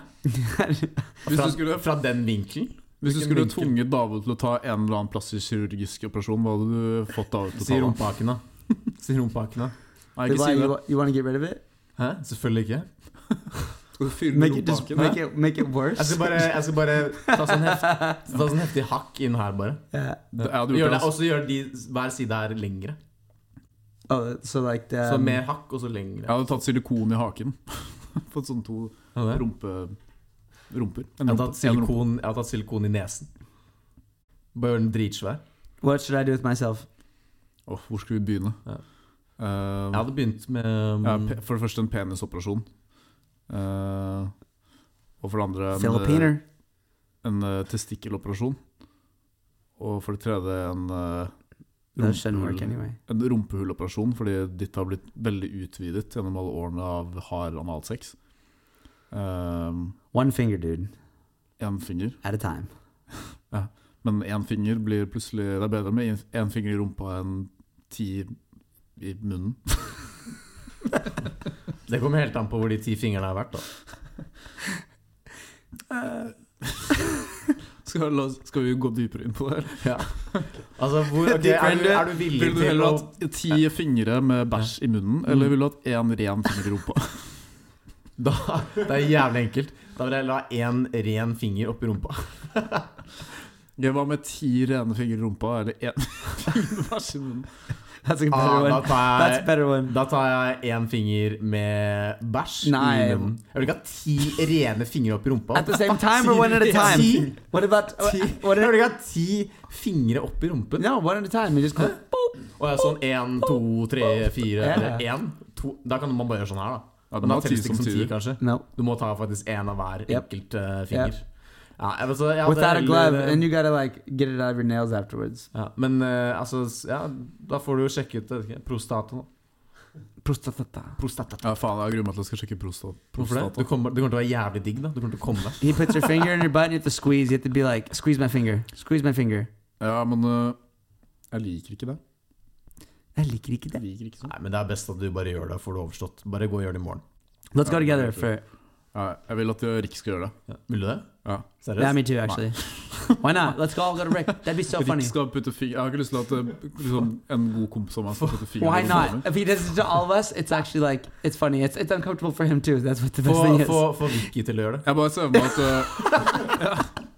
[SPEAKER 1] Hvis
[SPEAKER 3] Fra,
[SPEAKER 1] du skulle
[SPEAKER 3] fra den vinkelen?
[SPEAKER 1] Hvis du
[SPEAKER 3] Hvilken
[SPEAKER 1] skulle
[SPEAKER 3] vinkel?
[SPEAKER 1] tvunget David til å ta en eller annen plastisk kirurgisk operasjon, hva hadde du fått David til å ta?
[SPEAKER 3] Si
[SPEAKER 1] da?
[SPEAKER 3] rumpehaken, da. Si rumpehaken, da.
[SPEAKER 1] Nei,
[SPEAKER 2] Did
[SPEAKER 1] ikke
[SPEAKER 2] why
[SPEAKER 1] si
[SPEAKER 2] you,
[SPEAKER 1] det.
[SPEAKER 2] wa- you want to get rid of it?
[SPEAKER 3] Hæ? Selvfølgelig ikke.
[SPEAKER 1] Skal du fyre
[SPEAKER 2] Make
[SPEAKER 1] med
[SPEAKER 2] it just
[SPEAKER 1] rumpehaken?
[SPEAKER 2] make it make it worse.
[SPEAKER 3] Jeg skal bare, jeg skal bare ta, sånn heftig, ta sånn heftig hakk inn her, bare.
[SPEAKER 2] Yeah.
[SPEAKER 1] Det- Jeg hadde gjort
[SPEAKER 3] Gjør det,
[SPEAKER 1] det. altså.
[SPEAKER 3] og så gjør de hver side her lengre.
[SPEAKER 2] Oh, so like the
[SPEAKER 3] Så
[SPEAKER 2] um,
[SPEAKER 3] mer hakk, og så lengre.
[SPEAKER 1] Jeg hadde tatt silikon i haken. Fått sånn to
[SPEAKER 3] Ja, det.
[SPEAKER 1] rumpe... Rumper.
[SPEAKER 3] Jeg
[SPEAKER 1] En
[SPEAKER 3] har
[SPEAKER 1] rumpe.
[SPEAKER 3] tatt
[SPEAKER 1] En rumpe.
[SPEAKER 3] silikon, jeg har tatt silikon i nesen. Bare gjør den dritsvær.
[SPEAKER 2] what should I do with myself?
[SPEAKER 1] Åh, hvor skal vi begynne?
[SPEAKER 3] Ja. mm.
[SPEAKER 1] Eh,
[SPEAKER 3] Jeg hadde begynt med um,
[SPEAKER 1] ja, pe- for det første en penisoperasjon. Eh, og for det andre
[SPEAKER 2] Um,
[SPEAKER 1] en,
[SPEAKER 2] uh,
[SPEAKER 1] eh,
[SPEAKER 2] Filipiner.
[SPEAKER 1] en eh, testikkeloperasjon. Og for det tredje en eh,
[SPEAKER 2] That shouldn't work
[SPEAKER 1] rumpehull-
[SPEAKER 2] anyway.
[SPEAKER 1] en rumpehulloperasjon, fordi ditt har blitt veldig utvidet gjennom alle årene av hard analsex. Ehm,
[SPEAKER 2] One finger, dude,
[SPEAKER 1] Én finger.
[SPEAKER 2] at a time.
[SPEAKER 1] Men én finger blir plutselig Det er bedre med én- én finger i rumpa enn ti i munnen.
[SPEAKER 3] Det kommer helt an på hvor de ti fingrene har vært. da
[SPEAKER 1] Skal, la, oss- skal vi gå dypere inn på det? her?
[SPEAKER 3] Altså, hvor, ok, er, du, er du villig
[SPEAKER 1] Ville du
[SPEAKER 3] til å Mm.
[SPEAKER 1] heller hatt ti fingre med bæsj i munnen, eller ville du hatt én ren finger i rumpa?
[SPEAKER 3] da, Det er jævlig enkelt. Da vil jeg la én ren finger oppi rumpa.
[SPEAKER 1] Jeg var med ti rene fingre i rumpa, eller én finger med bæsj i munnen.
[SPEAKER 2] That's a better
[SPEAKER 3] Ah, da
[SPEAKER 2] one.
[SPEAKER 3] tar
[SPEAKER 2] That's a
[SPEAKER 3] jeg
[SPEAKER 2] better one.
[SPEAKER 3] Da tar jeg én finger med bæsj
[SPEAKER 2] Nei.
[SPEAKER 3] i munnen. Jeg vil ikke ha ti rene fingre opp i rumpa.
[SPEAKER 2] At the same time or one at a
[SPEAKER 3] Ti-
[SPEAKER 2] time?
[SPEAKER 3] Ti,
[SPEAKER 2] What about
[SPEAKER 3] ti.
[SPEAKER 2] what?
[SPEAKER 3] Jeg
[SPEAKER 2] Are,
[SPEAKER 3] vil ikke ha ti fingre opp i rumpen.
[SPEAKER 2] no, one at a time. You just go.
[SPEAKER 3] Og jeg er sånn én, to, tre, fire
[SPEAKER 2] Ja.
[SPEAKER 3] eller én. To. Da kan man bare gjøre sånn her, da.
[SPEAKER 1] Ja,
[SPEAKER 3] Men da telles det ikke som ti, kanskje.
[SPEAKER 2] No,
[SPEAKER 3] Du må ta faktisk én av hver
[SPEAKER 2] Yep.
[SPEAKER 3] enkelt eh, finger. Ja, jeg vet, så jeg hadde
[SPEAKER 2] without a glove,
[SPEAKER 3] heller-
[SPEAKER 2] and you gotta like get it out of your nails afterwards.
[SPEAKER 3] ja, Men eh, altså s- ja, Da får du jo sjekke ut jeg vet ikke, prostata. da.
[SPEAKER 2] Prostatata.
[SPEAKER 3] Prostata.
[SPEAKER 1] Ja, faen, jeg gruer meg til jeg skal sjekke prostat.
[SPEAKER 3] Hvorfor det? Du kommer, du kommer til å være jævlig digg, da. Du kommer til å komme deg.
[SPEAKER 2] He puts your finger in your butt, and you have to squeeze. You have to be like,
[SPEAKER 1] eh,
[SPEAKER 2] squeeze my finger, squeeze my finger.
[SPEAKER 1] Ja, men øh, jeg liker ikke det.
[SPEAKER 2] Jeg liker ikke det.
[SPEAKER 1] Liker ikke sånn.
[SPEAKER 3] Nei, men det er best at du bare gjør det, får det overstått. Bare gå og gjør det i morgen.
[SPEAKER 2] Let's
[SPEAKER 1] Ja,
[SPEAKER 2] go together
[SPEAKER 1] jeg
[SPEAKER 2] for
[SPEAKER 1] tror- Ja, jeg vil at eh, Rick skal gjøre det.
[SPEAKER 3] Ja. Vil du det?
[SPEAKER 1] Ja.
[SPEAKER 3] Seriøst?
[SPEAKER 2] Yeah, me too, actually. Why not? Let's all go to Rick. That'd be so
[SPEAKER 1] Rick
[SPEAKER 2] funny.
[SPEAKER 1] skal putte fingeren Jeg har ikke lyst til at eh, liksom, en god kompis av meg skal putte fingeren
[SPEAKER 2] Why
[SPEAKER 1] i
[SPEAKER 2] not?
[SPEAKER 1] hodet.
[SPEAKER 2] If he does it to all of us, it's actually like it's funny. It's it's uncomfortable for him too. That's what the best
[SPEAKER 3] Få,
[SPEAKER 2] thing is.
[SPEAKER 3] få, få Vicky til å gjøre det.
[SPEAKER 1] Jeg bare ser for meg at eh,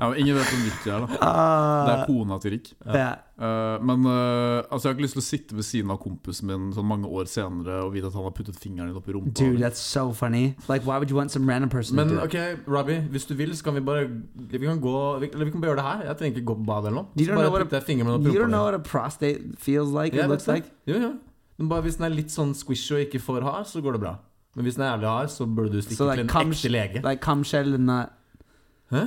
[SPEAKER 1] ja, men Ingen vet hvem Vicky er, da. Det er
[SPEAKER 2] Uh,
[SPEAKER 1] kona til Rick.
[SPEAKER 2] yeah.
[SPEAKER 1] Eh, men eh, altså, jeg har ikke lyst til å sitte ved siden av kompisen min sånn mange år senere og vite at han har puttet fingeren din opp i rumpa.
[SPEAKER 2] Dude, that's so funny. Like, why would you want some random person
[SPEAKER 3] Men
[SPEAKER 2] to do it?
[SPEAKER 3] ok, Robbie, hvis du vil, så kan vi bare Vi kan gå vi- Eller vi kan bare gjøre det her. Jeg trenger ikke gå på badet eller noe.
[SPEAKER 2] You don't
[SPEAKER 3] Så
[SPEAKER 2] know
[SPEAKER 3] bare
[SPEAKER 2] what a-
[SPEAKER 3] putter jeg fingeren mellom
[SPEAKER 2] You don't
[SPEAKER 3] proppene.
[SPEAKER 2] know what a prostate feels like
[SPEAKER 3] Jeg
[SPEAKER 2] and
[SPEAKER 3] vet
[SPEAKER 2] looks
[SPEAKER 3] det.
[SPEAKER 2] like?
[SPEAKER 3] Jo, jo. Men bare hvis den er litt sånn squishy og ikke for hard, så går det bra. Men hvis den er jævlig hard, så burde du stikke
[SPEAKER 2] Så det er
[SPEAKER 3] til en
[SPEAKER 2] kams-
[SPEAKER 3] ekte lege.
[SPEAKER 2] Like cum shell and not.
[SPEAKER 3] Hæ?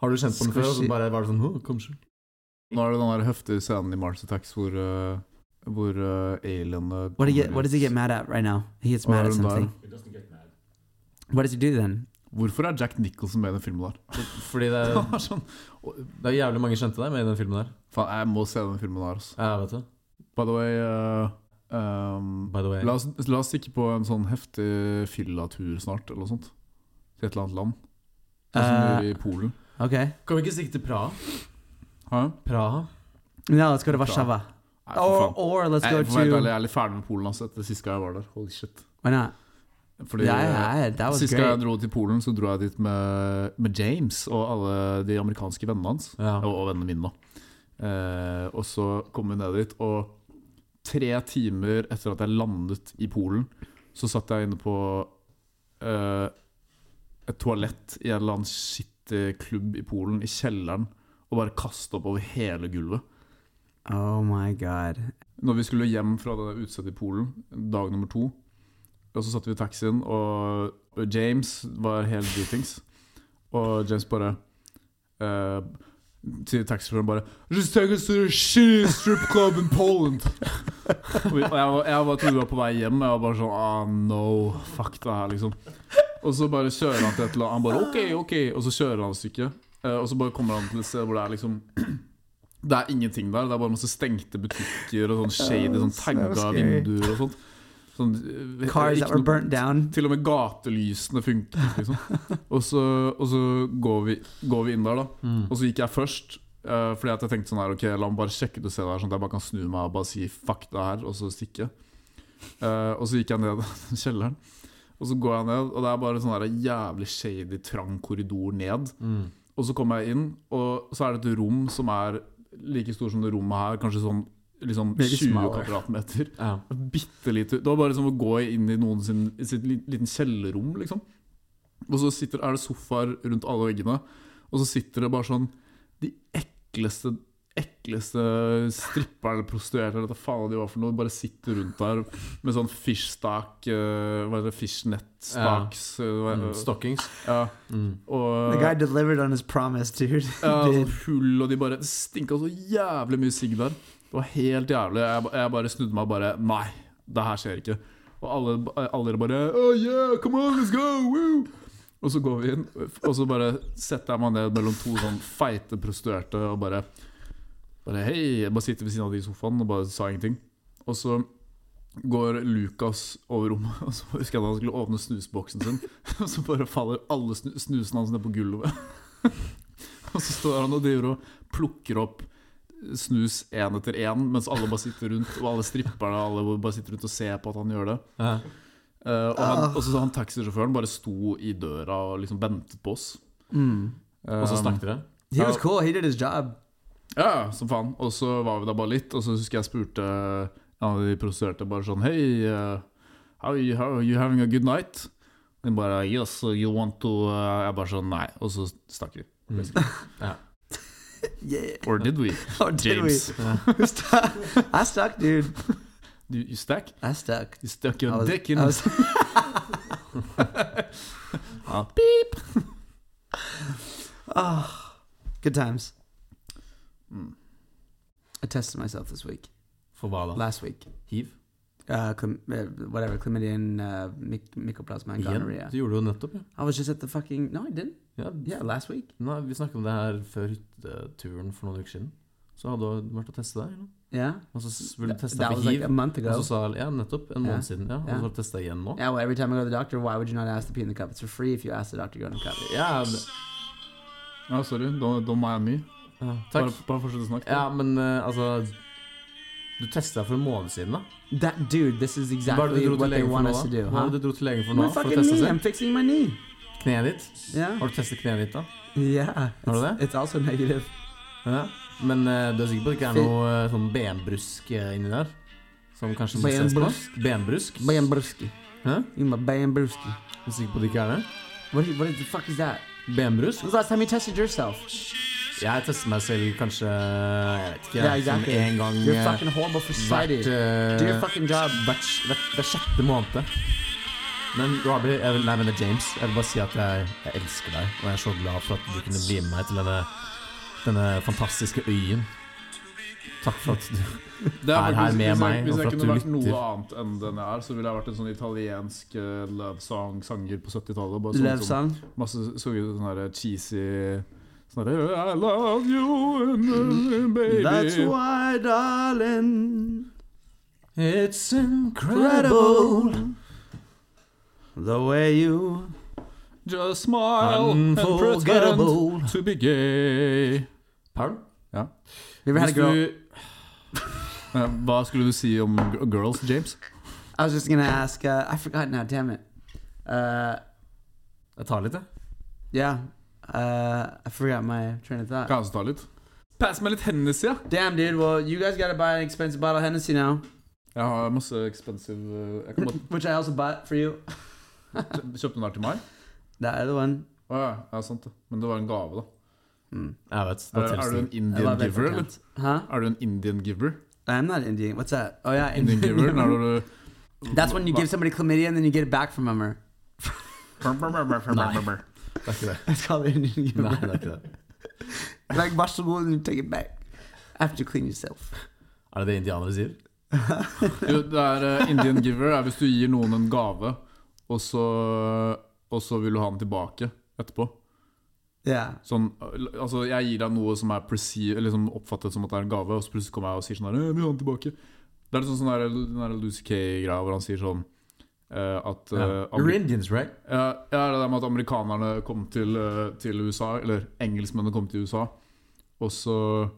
[SPEAKER 3] Har du kjent på den før, og så
[SPEAKER 2] Squishy.
[SPEAKER 3] bare var det sånn «Åh, kanskje.
[SPEAKER 1] Nå er det den der heftige scenen i Mars Attacks hvor, uh, hvor uh, alienene
[SPEAKER 2] What do you get?
[SPEAKER 1] kommer
[SPEAKER 2] What does he
[SPEAKER 1] ut.
[SPEAKER 2] get mad at right now? He gets
[SPEAKER 1] Or
[SPEAKER 2] mad at
[SPEAKER 1] I'm
[SPEAKER 2] something.
[SPEAKER 4] It doesn't get mad.
[SPEAKER 2] What does he do then?
[SPEAKER 1] Hvorfor er Jack Nicholson med i den filmen der?
[SPEAKER 3] Fordi det
[SPEAKER 1] Det
[SPEAKER 3] er,
[SPEAKER 1] var sånn,
[SPEAKER 3] det er jævlig mange kjente deg med i den filmen der.
[SPEAKER 1] Faen, jeg må se den filmen der, altså.
[SPEAKER 3] Ja, vet du.
[SPEAKER 1] By the way uh, um,
[SPEAKER 3] By the way.
[SPEAKER 1] la, oss, la oss stikke på en sånn heftig fyllatur snart, eller noe sånt. Til et eller annet land. Sånn som
[SPEAKER 2] Uh,
[SPEAKER 1] vi gjør i Polen.
[SPEAKER 2] Okay.
[SPEAKER 3] Kan vi ikke stikke til Praha?
[SPEAKER 1] Hæ?
[SPEAKER 3] Praha?
[SPEAKER 2] No, let's go to
[SPEAKER 1] Bra.
[SPEAKER 2] Warszawa.
[SPEAKER 1] Nei, for
[SPEAKER 2] Or
[SPEAKER 1] faen.
[SPEAKER 2] or let's
[SPEAKER 1] Jeg,
[SPEAKER 2] go
[SPEAKER 1] for å være helt ærlig,
[SPEAKER 2] to.
[SPEAKER 1] jeg er litt ferdig med Polen altså, etter sist gang jeg var der. Holy shit.
[SPEAKER 2] Why not?
[SPEAKER 1] Fordi,
[SPEAKER 2] yeah, I had- that was
[SPEAKER 1] Sist gang jeg
[SPEAKER 2] great.
[SPEAKER 1] dro til Polen, så dro jeg dit med, med James og alle de amerikanske vennene hans.
[SPEAKER 3] Ja.
[SPEAKER 1] Og, og vennene mine, da. Eh, og så kom vi ned dit, og tre timer etter at jeg landet i Polen, så satt jeg inne på eh, et toalett i en eller annen skittig klubb i Polen, i kjelleren, og bare kastet opp over hele gulvet.
[SPEAKER 2] Oh my god.
[SPEAKER 1] Når vi skulle hjem fra det utstedet i Polen, dag nummer to, og så satt vi i taxien, og og James var helt dritings. Og James bare uh, til taxisjåføren bare Just take us to the shitty strip club in Poland. og vi- og jeg, var- jeg bare trodde vi var på vei hjem. og Jeg var bare sånn Ah, no. Fuck det her, liksom. Og så bare kjører han til et eller annet. Han bare OK, OK. Og så kjører han et stykke. Eh, og så bare kommer han til et sted hvor det er liksom Det er ingenting der. Det er bare masse stengte butikker og sånn shady, sånn
[SPEAKER 2] so
[SPEAKER 1] tagga
[SPEAKER 2] scary.
[SPEAKER 1] vinduer og sånt. Sånn, eh, ikke
[SPEAKER 2] Cars that were
[SPEAKER 1] noe-
[SPEAKER 2] burnt down.
[SPEAKER 1] til og med gatelysene funket, liksom. Og så, og så går, vi, går vi inn der, da.
[SPEAKER 3] Mm,
[SPEAKER 1] Og så gikk jeg først. eh, fordi at jeg tenkte sånn her Ok, la meg bare sjekke ut og se det her, sånn at jeg bare kan snu meg og bare si fuck det her, og så stikke. Eh, og så gikk jeg ned i kjelleren. Og så går jeg ned, og det er bare sånn her jævlig shady, trang korridor ned.
[SPEAKER 3] Mm.
[SPEAKER 1] Og så kommer jeg inn, og så er det et rom som er like stort som det rommet her, kanskje sånn liksom
[SPEAKER 2] Meget
[SPEAKER 1] 20
[SPEAKER 2] smaler.
[SPEAKER 1] kvadratmeter.
[SPEAKER 3] Ja.
[SPEAKER 1] Bitte lite Det var bare som å gå inn i noen sin, i sitt li- liten kjellerrom, liksom. Og så sitter, er det sofaer rundt alle veggene, og så sitter det bare sånn De ekleste Ekleste stripperne, prostituerte, eller hva faen de var for noe, bare sitter rundt der med sånn fishstak eh, Hva heter det? Fishnet-staks
[SPEAKER 3] Mm.
[SPEAKER 1] eh, hva-
[SPEAKER 3] Stockings.
[SPEAKER 1] Ja,
[SPEAKER 3] Mm.
[SPEAKER 2] The
[SPEAKER 1] og
[SPEAKER 2] guy delivered on his promise, dude.
[SPEAKER 1] ja,
[SPEAKER 2] Dude.
[SPEAKER 1] sånn hull, og de bare Det stinka så jævlig mye sigg der. Det var helt jævlig. Jeg, ba- jeg bare snudde meg og bare Nei, det her skjer ikke. Og alle, alle bare Oh yeah, come on, let's go! Woo! Og så går vi inn, og så bare setter jeg meg ned mellom to sånn feite prostituerte og bare Bare hei, jeg bare sitter ved siden av de i sofaen og bare sa ingenting. Og så går Lukas over rommet, og så husker jeg da han skulle åpne snusboksen sin. Og så bare faller alle snu snusene hans ned på gulvet. Og så står han og driver og plukker opp snus én etter én, mens alle bare sitter rundt, og alle stripperne og alle bare sitter rundt og ser på at han gjør det.
[SPEAKER 3] Ja.
[SPEAKER 1] Eh, og, han, og så han taxisjåføren bare sto i døra og liksom ventet på oss.
[SPEAKER 2] Mm.
[SPEAKER 3] Og så
[SPEAKER 1] Eh,
[SPEAKER 3] snakket dere?
[SPEAKER 2] He was cool. He did his job.
[SPEAKER 1] Ja, som faen. Og så var vi der bare litt, og så husker jeg spurte en av de prostituerte bare sånn Hei, uh, how, you- how are you having a good night? Og de bare Yes, you want to uh, Jeg bare sånn Nei. Og så stakk vi.
[SPEAKER 3] Mm.
[SPEAKER 2] Yeah.
[SPEAKER 1] Or did we?
[SPEAKER 2] Or did
[SPEAKER 1] James.
[SPEAKER 2] Oh, we? Who's stuck? I stuck, dude.
[SPEAKER 1] You, you stack?
[SPEAKER 2] I stuck.
[SPEAKER 1] You stuck
[SPEAKER 2] I
[SPEAKER 1] your
[SPEAKER 2] was-
[SPEAKER 1] dick in
[SPEAKER 2] I was-
[SPEAKER 1] Ja.
[SPEAKER 2] Ah, good times.
[SPEAKER 1] Mm.
[SPEAKER 2] I tested myself this week.
[SPEAKER 3] For hva da?
[SPEAKER 2] Last week.
[SPEAKER 3] Hiv?
[SPEAKER 2] Uh, chlam- uh, whatever, chlamydia and uh, myc- mycoplasma and
[SPEAKER 3] Igjen?
[SPEAKER 2] gonorrhea.
[SPEAKER 3] Du gjorde det jo nettopp, ja.
[SPEAKER 2] I was just at the fucking. No, I didn't.
[SPEAKER 3] ja.
[SPEAKER 2] Yeah, last week.
[SPEAKER 3] Nei, vi snakket om det her før hytteturen for noen uker siden. Så hadde du vært og testet deg? eller noe?
[SPEAKER 2] Yeah.
[SPEAKER 3] Og så s- ble
[SPEAKER 2] Th-
[SPEAKER 3] du testa
[SPEAKER 2] that
[SPEAKER 3] for
[SPEAKER 2] was like
[SPEAKER 3] hiv.
[SPEAKER 2] a month
[SPEAKER 3] Og så
[SPEAKER 2] ago.
[SPEAKER 3] sa Ja, nettopp. En måned
[SPEAKER 2] Ja.
[SPEAKER 3] siden. Ja, Og
[SPEAKER 2] Ja.
[SPEAKER 3] så ble du testa igjen nå.
[SPEAKER 2] Yeah, well, every time I go to the doctor, why would you not ask to pee in the cup? It's for free if you ask the doctor to go in the cup.
[SPEAKER 3] Ja, men-
[SPEAKER 1] Ja, sorry. Don't, don't mind me.
[SPEAKER 3] ja,
[SPEAKER 1] Bare,
[SPEAKER 3] takk.
[SPEAKER 1] bare fortsett å snakke.
[SPEAKER 3] Ja, men eh, altså Du testa for en måned siden, da.
[SPEAKER 2] That dude, this is
[SPEAKER 3] Hva er det
[SPEAKER 2] exactly
[SPEAKER 3] du dro
[SPEAKER 2] what
[SPEAKER 3] til
[SPEAKER 2] they
[SPEAKER 3] legen for
[SPEAKER 2] want
[SPEAKER 3] nå,
[SPEAKER 2] us to
[SPEAKER 3] da?
[SPEAKER 2] do,
[SPEAKER 3] Hva er
[SPEAKER 2] huh?
[SPEAKER 3] det du dro til legen for nå?
[SPEAKER 2] My
[SPEAKER 3] For å
[SPEAKER 2] fucking
[SPEAKER 3] teste
[SPEAKER 2] knee. I'm
[SPEAKER 3] seg?
[SPEAKER 2] fixing my knee.
[SPEAKER 3] Kneet ditt?
[SPEAKER 2] Yeah.
[SPEAKER 3] Har du testet kneet ditt, da?
[SPEAKER 2] Yeah.
[SPEAKER 3] Are
[SPEAKER 2] It's,
[SPEAKER 3] they?
[SPEAKER 2] it's also negative.
[SPEAKER 3] Ja. Men eh, du er sikker på at det ikke er
[SPEAKER 2] Fy-
[SPEAKER 3] noe eh, sånn benbrusk eh, inni der? Som kanskje må ses på?
[SPEAKER 2] Benbrusk?
[SPEAKER 3] Benbrusk?
[SPEAKER 2] Bambrewski.
[SPEAKER 3] Hæ?
[SPEAKER 2] You my Bambrewski.
[SPEAKER 3] Du er sikker på at det ikke er det?
[SPEAKER 2] What, is- what is the fuck is that?
[SPEAKER 3] Benbrusk?
[SPEAKER 2] When's the last time you tested yourself?
[SPEAKER 3] Jeg tester meg selv kanskje Jeg vet ikke,
[SPEAKER 2] Yeah, exactly.
[SPEAKER 3] som en gang
[SPEAKER 2] You're
[SPEAKER 3] eh,
[SPEAKER 2] fucking horrible for
[SPEAKER 3] hvert,
[SPEAKER 2] society.
[SPEAKER 3] eh,
[SPEAKER 2] Do your fucking job.
[SPEAKER 3] hvert, hvert, hver sjette måned. Men Robbie, jeg vil, nei, men det er James, jeg vil bare si at jeg, jeg elsker deg. Og jeg er så glad for at du kunne bli med meg til denne, denne fantastiske øyen. Takk for at du
[SPEAKER 1] Det
[SPEAKER 3] er her
[SPEAKER 1] hvis
[SPEAKER 3] med
[SPEAKER 1] jeg,
[SPEAKER 3] meg,
[SPEAKER 1] Hvis
[SPEAKER 3] og for
[SPEAKER 1] jeg
[SPEAKER 3] at
[SPEAKER 1] kunne
[SPEAKER 3] du
[SPEAKER 1] vært
[SPEAKER 3] lytter.
[SPEAKER 1] noe annet enn den jeg er, så ville jeg vært en sånn italiensk eh, love song-sanger på 70-tallet. Bare sånn
[SPEAKER 2] Love
[SPEAKER 1] som
[SPEAKER 2] song.
[SPEAKER 1] masse sunget sånn her cheesy sånn her, I love you and, uh, baby
[SPEAKER 2] That's why, darling,
[SPEAKER 3] It's
[SPEAKER 2] incredible the way you
[SPEAKER 1] Just smile and pretend
[SPEAKER 3] Unforgettable.
[SPEAKER 1] to be gay.
[SPEAKER 3] Paul?
[SPEAKER 2] You ever had a
[SPEAKER 1] Hvis
[SPEAKER 2] girl?
[SPEAKER 1] du- Eh, Hva skulle du si om gr- girls, James?
[SPEAKER 2] I was just gonna ask. Uh, I forgot now. Damn it. Uh,
[SPEAKER 3] Jeg tar litt, jeg.
[SPEAKER 2] yeah. Uh, I forgot my train of thought.
[SPEAKER 1] Kan jeg også ta litt? Pass meg litt Hennessy, ja.
[SPEAKER 2] Damn, dude. Well, you guys gotta buy an expensive bottle of Hennessy now,
[SPEAKER 1] Jeg har masse expensive eh, Jeg kan bare
[SPEAKER 2] which I also bought for you.
[SPEAKER 1] kjø- kjøpte den der til meg.
[SPEAKER 2] That other one.
[SPEAKER 1] Å ja, ja, sant det. Men det var en gave, da.
[SPEAKER 2] Mm.
[SPEAKER 3] Jeg vet.
[SPEAKER 1] Er,
[SPEAKER 3] Da
[SPEAKER 1] er du
[SPEAKER 3] tilstår
[SPEAKER 1] en
[SPEAKER 3] jeg.
[SPEAKER 2] I
[SPEAKER 1] Indian
[SPEAKER 2] love it.
[SPEAKER 1] giver, eller?
[SPEAKER 2] Huh?
[SPEAKER 1] Er du en Indian giver?
[SPEAKER 2] I'm not Indian. What's that? Oh yeah,
[SPEAKER 1] Indian giver, er du
[SPEAKER 2] That's when you give somebody chlamydia and then you get it back from them. Or
[SPEAKER 1] Nei.
[SPEAKER 3] Det er ikke det.
[SPEAKER 2] that's called Indian giver.
[SPEAKER 3] Nei, det er ikke det.
[SPEAKER 2] like vegetable and you take it back after you clean yourself.
[SPEAKER 3] Er det det indianere sier?
[SPEAKER 1] Jo, det er eh, Indian giver er hvis du gir noen en gave, og så, og så vil du ha den tilbake etterpå.
[SPEAKER 2] Yeah.
[SPEAKER 1] Sånn, eh, altså Jeg gir deg noe som er perceive- eller som oppfattet som at det er en gave, og så plutselig kommer jeg og sier sånn her «Eh, 'Vi har den tilbake'. Det er litt sånn sånn der, den der Lucy Kay-greia hvor han sier sånn eh, at eh,
[SPEAKER 3] Ja. You're
[SPEAKER 1] Ameri-
[SPEAKER 3] Indians, right?
[SPEAKER 1] ja, ja, det der med at amerikanerne kom til, eh, til USA, eller engelskmennene kom til USA, og så eh,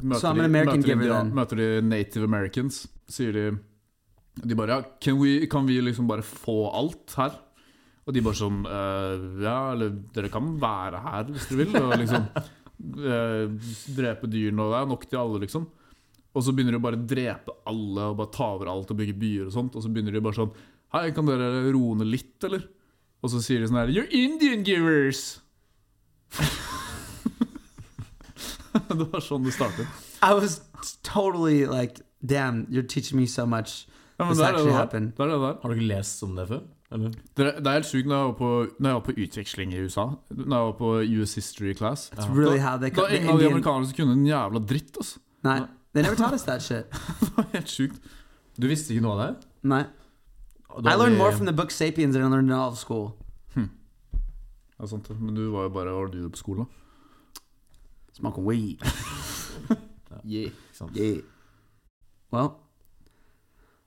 [SPEAKER 1] møter,
[SPEAKER 2] So I'm an
[SPEAKER 1] de,
[SPEAKER 2] American
[SPEAKER 1] møter, de,
[SPEAKER 2] giver
[SPEAKER 1] indian-
[SPEAKER 2] then.
[SPEAKER 1] møter de native americans, sier de De bare ja, can we, kan vi liksom bare få alt her? Og de bare sånn eh, Ja, eller dere kan være her hvis dere vil, og liksom eh, drepe dyrene, og det er nok til alle, liksom. Og så begynner de bare å drepe alle og bare ta over alt og bygge byer og sånt. Og så begynner de bare sånn Hei, kan dere roe ned litt, eller? Og så sier de sånn her You're Indian givers! det var sånn det startet.
[SPEAKER 2] I was totally like, damn, you're teaching me so much.
[SPEAKER 1] Ja, men
[SPEAKER 2] This
[SPEAKER 1] det er det
[SPEAKER 2] actually
[SPEAKER 1] der.
[SPEAKER 2] happened.
[SPEAKER 1] Det er det der.
[SPEAKER 3] Har du ikke lest om det før? Eller?
[SPEAKER 1] Det er, det er helt sjukt når jeg var på, når jeg var på utveksling i USA. Når jeg var på US History Class.
[SPEAKER 2] It's really how they
[SPEAKER 1] Da
[SPEAKER 2] come. The
[SPEAKER 1] en av de
[SPEAKER 2] Indian,
[SPEAKER 1] amerikanerne som kunne en jævla dritt, altså.
[SPEAKER 2] not, they never taught us that shit.
[SPEAKER 1] Det var helt sjukt.
[SPEAKER 3] Du visste ikke noe av det? her?
[SPEAKER 2] Not,
[SPEAKER 3] Og da
[SPEAKER 2] I
[SPEAKER 3] har
[SPEAKER 2] learned
[SPEAKER 3] vi-
[SPEAKER 2] more from the book *Sapiens* than I learned in all of school.
[SPEAKER 1] Ja, sant. det. Men du var jo bare Var du på skolen, da?
[SPEAKER 2] Smoking weed.
[SPEAKER 1] Yeah.
[SPEAKER 2] Yeah. Well,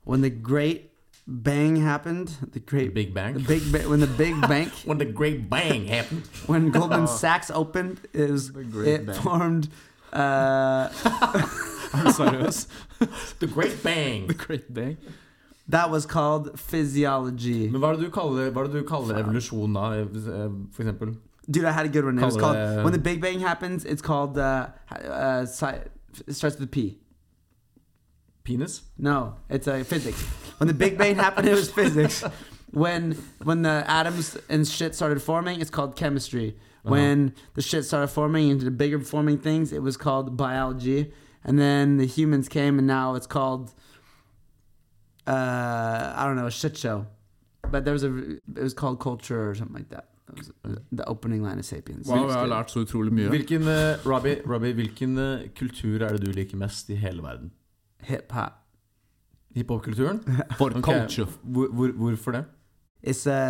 [SPEAKER 2] when the Great Bang happened, the Great
[SPEAKER 3] Big Bang.
[SPEAKER 2] the Big ba- when the Big Bang,
[SPEAKER 3] When the great bang happened.
[SPEAKER 2] when Goldman Sachs opened, it was it formed. Uh,
[SPEAKER 1] Seriøs?
[SPEAKER 3] The great bang.
[SPEAKER 1] The great day.
[SPEAKER 2] That was called physiology.
[SPEAKER 3] Men hva er det du kaller, hva er det du kaller evolusjon da, eh, for eksempel?
[SPEAKER 2] Dude, I had a good one. It was
[SPEAKER 3] Call
[SPEAKER 2] called
[SPEAKER 3] it, uh,
[SPEAKER 2] when the Big Bang happens. It's called uh, uh, sci- it starts with P.
[SPEAKER 3] Penis?
[SPEAKER 2] No, it's uh, physics. When the Big Bang happened, it was physics. When when the atoms and shit started forming, it's called chemistry.
[SPEAKER 1] Uh-huh.
[SPEAKER 2] When the shit started forming into the bigger forming things, it was called biology. And then the humans came, and now it's called uh, I don't know a shit show. But there was a it was called culture or something like that. That was uh, the opening line of Sapiens.
[SPEAKER 1] Wow, jeg har lært så utrolig mye.
[SPEAKER 3] Hvilken, eh, Robbie, Robbie, hvilken eh, kultur er det du liker mest i hele verden?
[SPEAKER 2] Hip hop.
[SPEAKER 3] Hiphop-kulturen?
[SPEAKER 1] For
[SPEAKER 3] Ok,
[SPEAKER 1] culture.
[SPEAKER 3] Hvor, hvor, hvorfor det?
[SPEAKER 2] uh, It's a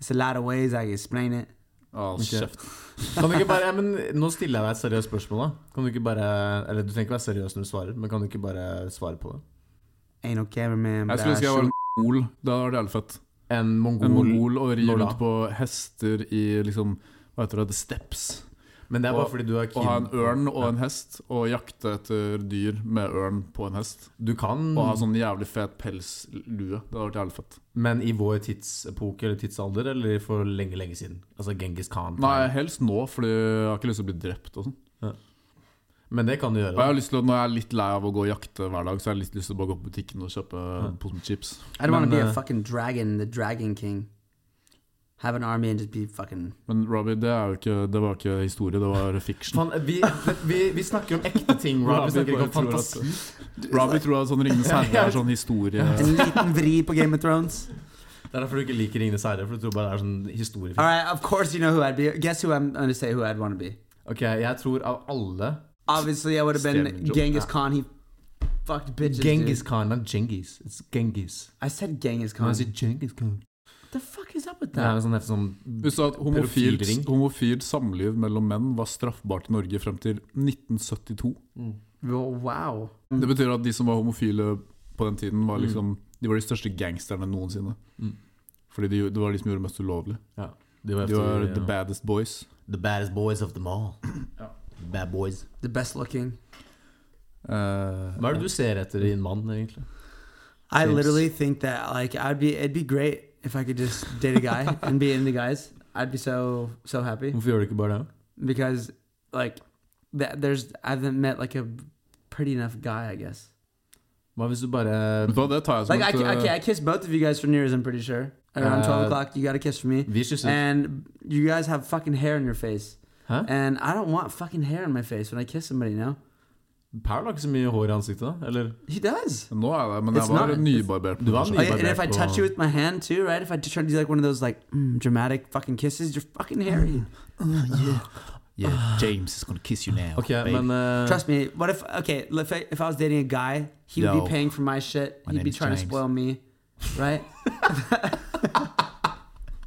[SPEAKER 2] it's a lot of ways I can explain it.
[SPEAKER 1] Å,
[SPEAKER 3] Ok.
[SPEAKER 1] kjeft.
[SPEAKER 3] Kan du ikke bare, ja, men Nå stiller jeg deg et seriøst spørsmål. da Kan du ikke bare, eller Du trenger ikke være seriøs når du svarer, men kan du ikke bare svare på det?
[SPEAKER 2] Ain't no cameraman.
[SPEAKER 1] Jeg
[SPEAKER 2] but
[SPEAKER 1] skulle
[SPEAKER 2] I
[SPEAKER 1] ønske jeg
[SPEAKER 2] sure
[SPEAKER 1] var en mongol. Det hadde vært jævlig fett.
[SPEAKER 3] En mongol,
[SPEAKER 1] En mongol og ri
[SPEAKER 3] Når da?
[SPEAKER 1] rundt på hester i liksom Hva heter det? The Steps.
[SPEAKER 3] Men det er bare
[SPEAKER 1] Og-
[SPEAKER 3] fordi du er
[SPEAKER 1] Å ha en
[SPEAKER 3] keen-
[SPEAKER 1] ørn og en hest, og jakte etter dyr med ørn på en hest.
[SPEAKER 3] Du kan,
[SPEAKER 1] Og ha sånn jævlig fet pelslue. Det hadde vært jævlig fett.
[SPEAKER 3] men i vår tidsepoke eller tidsalder, eller for lenge, lenge siden? Altså Genghis Khan.
[SPEAKER 1] Nei, helst nå, Fordi jeg har ikke lyst til å bli drept og sånn.
[SPEAKER 3] Men det kan du gjøre.
[SPEAKER 1] Og jeg
[SPEAKER 3] da.
[SPEAKER 1] har lyst til å, Når jeg er litt lei av å gå og jakte hver dag, så har jeg litt lyst til å bare gå på butikken og kjøpe en pose med chips.
[SPEAKER 2] I don't want to
[SPEAKER 3] Men,
[SPEAKER 2] be a
[SPEAKER 3] eh,
[SPEAKER 2] fucking dragon, the Dragon King. Have an army and just be fucking.
[SPEAKER 1] Men Robbie, det, er jo ikke, det var ikke historie, det var fiction.
[SPEAKER 3] Faen, vi, vi, vi snakker om ekte ting, Rob.
[SPEAKER 1] Robbie
[SPEAKER 3] Vi snakker ikke
[SPEAKER 1] bare
[SPEAKER 3] om
[SPEAKER 1] tror at-
[SPEAKER 3] fantasi.
[SPEAKER 1] Robbie tror at sånn Ringenes herre er sånn historie.
[SPEAKER 2] En liten vri på Game of Thrones.
[SPEAKER 3] Det er derfor du ikke liker Ringenes herre, for du tror bare det er sånn historiefilm.
[SPEAKER 2] All right, of course you know who I'd be. Guess who I'm going to say who I'd want to be.
[SPEAKER 3] Ok, jeg tror av alle
[SPEAKER 2] Obviously, I would have been
[SPEAKER 1] Stephen Jones.
[SPEAKER 2] Genghis Khan. He fucked bitches.
[SPEAKER 3] Genghis
[SPEAKER 2] dude.
[SPEAKER 3] Khan, not Genghis. It's Genghis.
[SPEAKER 2] I said Genghis
[SPEAKER 3] Kan
[SPEAKER 2] Khan.
[SPEAKER 3] jeg si Genghis Khan?
[SPEAKER 2] What the fuck is up with
[SPEAKER 3] Det er
[SPEAKER 2] that?
[SPEAKER 3] jo sånn, det er sånn
[SPEAKER 1] Hvis at homofilt,
[SPEAKER 3] Pedofilring.
[SPEAKER 1] homofilt samliv mellom menn var straffbart i Norge frem til 1972.
[SPEAKER 5] Mm.
[SPEAKER 2] Well, wow.
[SPEAKER 1] Det betyr at de som var homofile på den tiden, var liksom De var de største gangsterne noensinne.
[SPEAKER 3] Mm.
[SPEAKER 1] Fordi de, det var de som gjorde det mest ulovlig.
[SPEAKER 3] De var,
[SPEAKER 1] De var the
[SPEAKER 3] the,
[SPEAKER 1] baddest boys.
[SPEAKER 3] baddest boys of them all. Bad boys.
[SPEAKER 2] The best looking.
[SPEAKER 1] Eh,
[SPEAKER 3] Hva er det du ser etter i en mann, egentlig?
[SPEAKER 2] I
[SPEAKER 3] Seems-
[SPEAKER 2] literally think that like I'd be. It'd be great if I could just date a guy and be into guys. I'd be so so happy.
[SPEAKER 3] Hvorfor gjør du ikke bare det?
[SPEAKER 2] because like that there's I haven't met like a pretty enough guy I guess.
[SPEAKER 3] Hva hvis du bare
[SPEAKER 1] Vet du hva, det tar jeg som
[SPEAKER 2] Like I,
[SPEAKER 1] et
[SPEAKER 2] I, okay,
[SPEAKER 1] eh,
[SPEAKER 2] I kissed both of you guys for New Year's I'm pretty sure around
[SPEAKER 3] Uh,
[SPEAKER 2] twelve o'clock. You got a kiss for me,
[SPEAKER 3] Vi kysser.
[SPEAKER 2] and you guys have fucking hair in your face,
[SPEAKER 3] Hæ?
[SPEAKER 2] and I don't want fucking hair in my face when I kiss somebody. You know
[SPEAKER 3] Paul har ikke så mye hår i ansiktet, da? Eller?
[SPEAKER 2] he does.
[SPEAKER 1] Nå er det, men jeg
[SPEAKER 2] It's
[SPEAKER 1] var
[SPEAKER 2] not-
[SPEAKER 1] nybarbert. på
[SPEAKER 3] Du var
[SPEAKER 1] den
[SPEAKER 3] ny-
[SPEAKER 2] Oh,
[SPEAKER 1] tiden.
[SPEAKER 2] yeah, and if I
[SPEAKER 3] back
[SPEAKER 2] touch you
[SPEAKER 3] on.
[SPEAKER 2] with my hand too, right? If I try to do like one of those like mm, dramatic fucking kisses, you're fucking hairy.
[SPEAKER 5] James is gonna kiss you now.
[SPEAKER 3] Ok, men eh,
[SPEAKER 2] Trust me. What if okay? If I, if I was dating a guy, he would
[SPEAKER 5] Yo.
[SPEAKER 2] be paying for my shit.
[SPEAKER 5] My
[SPEAKER 2] He'd
[SPEAKER 5] name
[SPEAKER 2] be
[SPEAKER 5] is
[SPEAKER 2] trying to
[SPEAKER 5] James.
[SPEAKER 2] spoil me, right?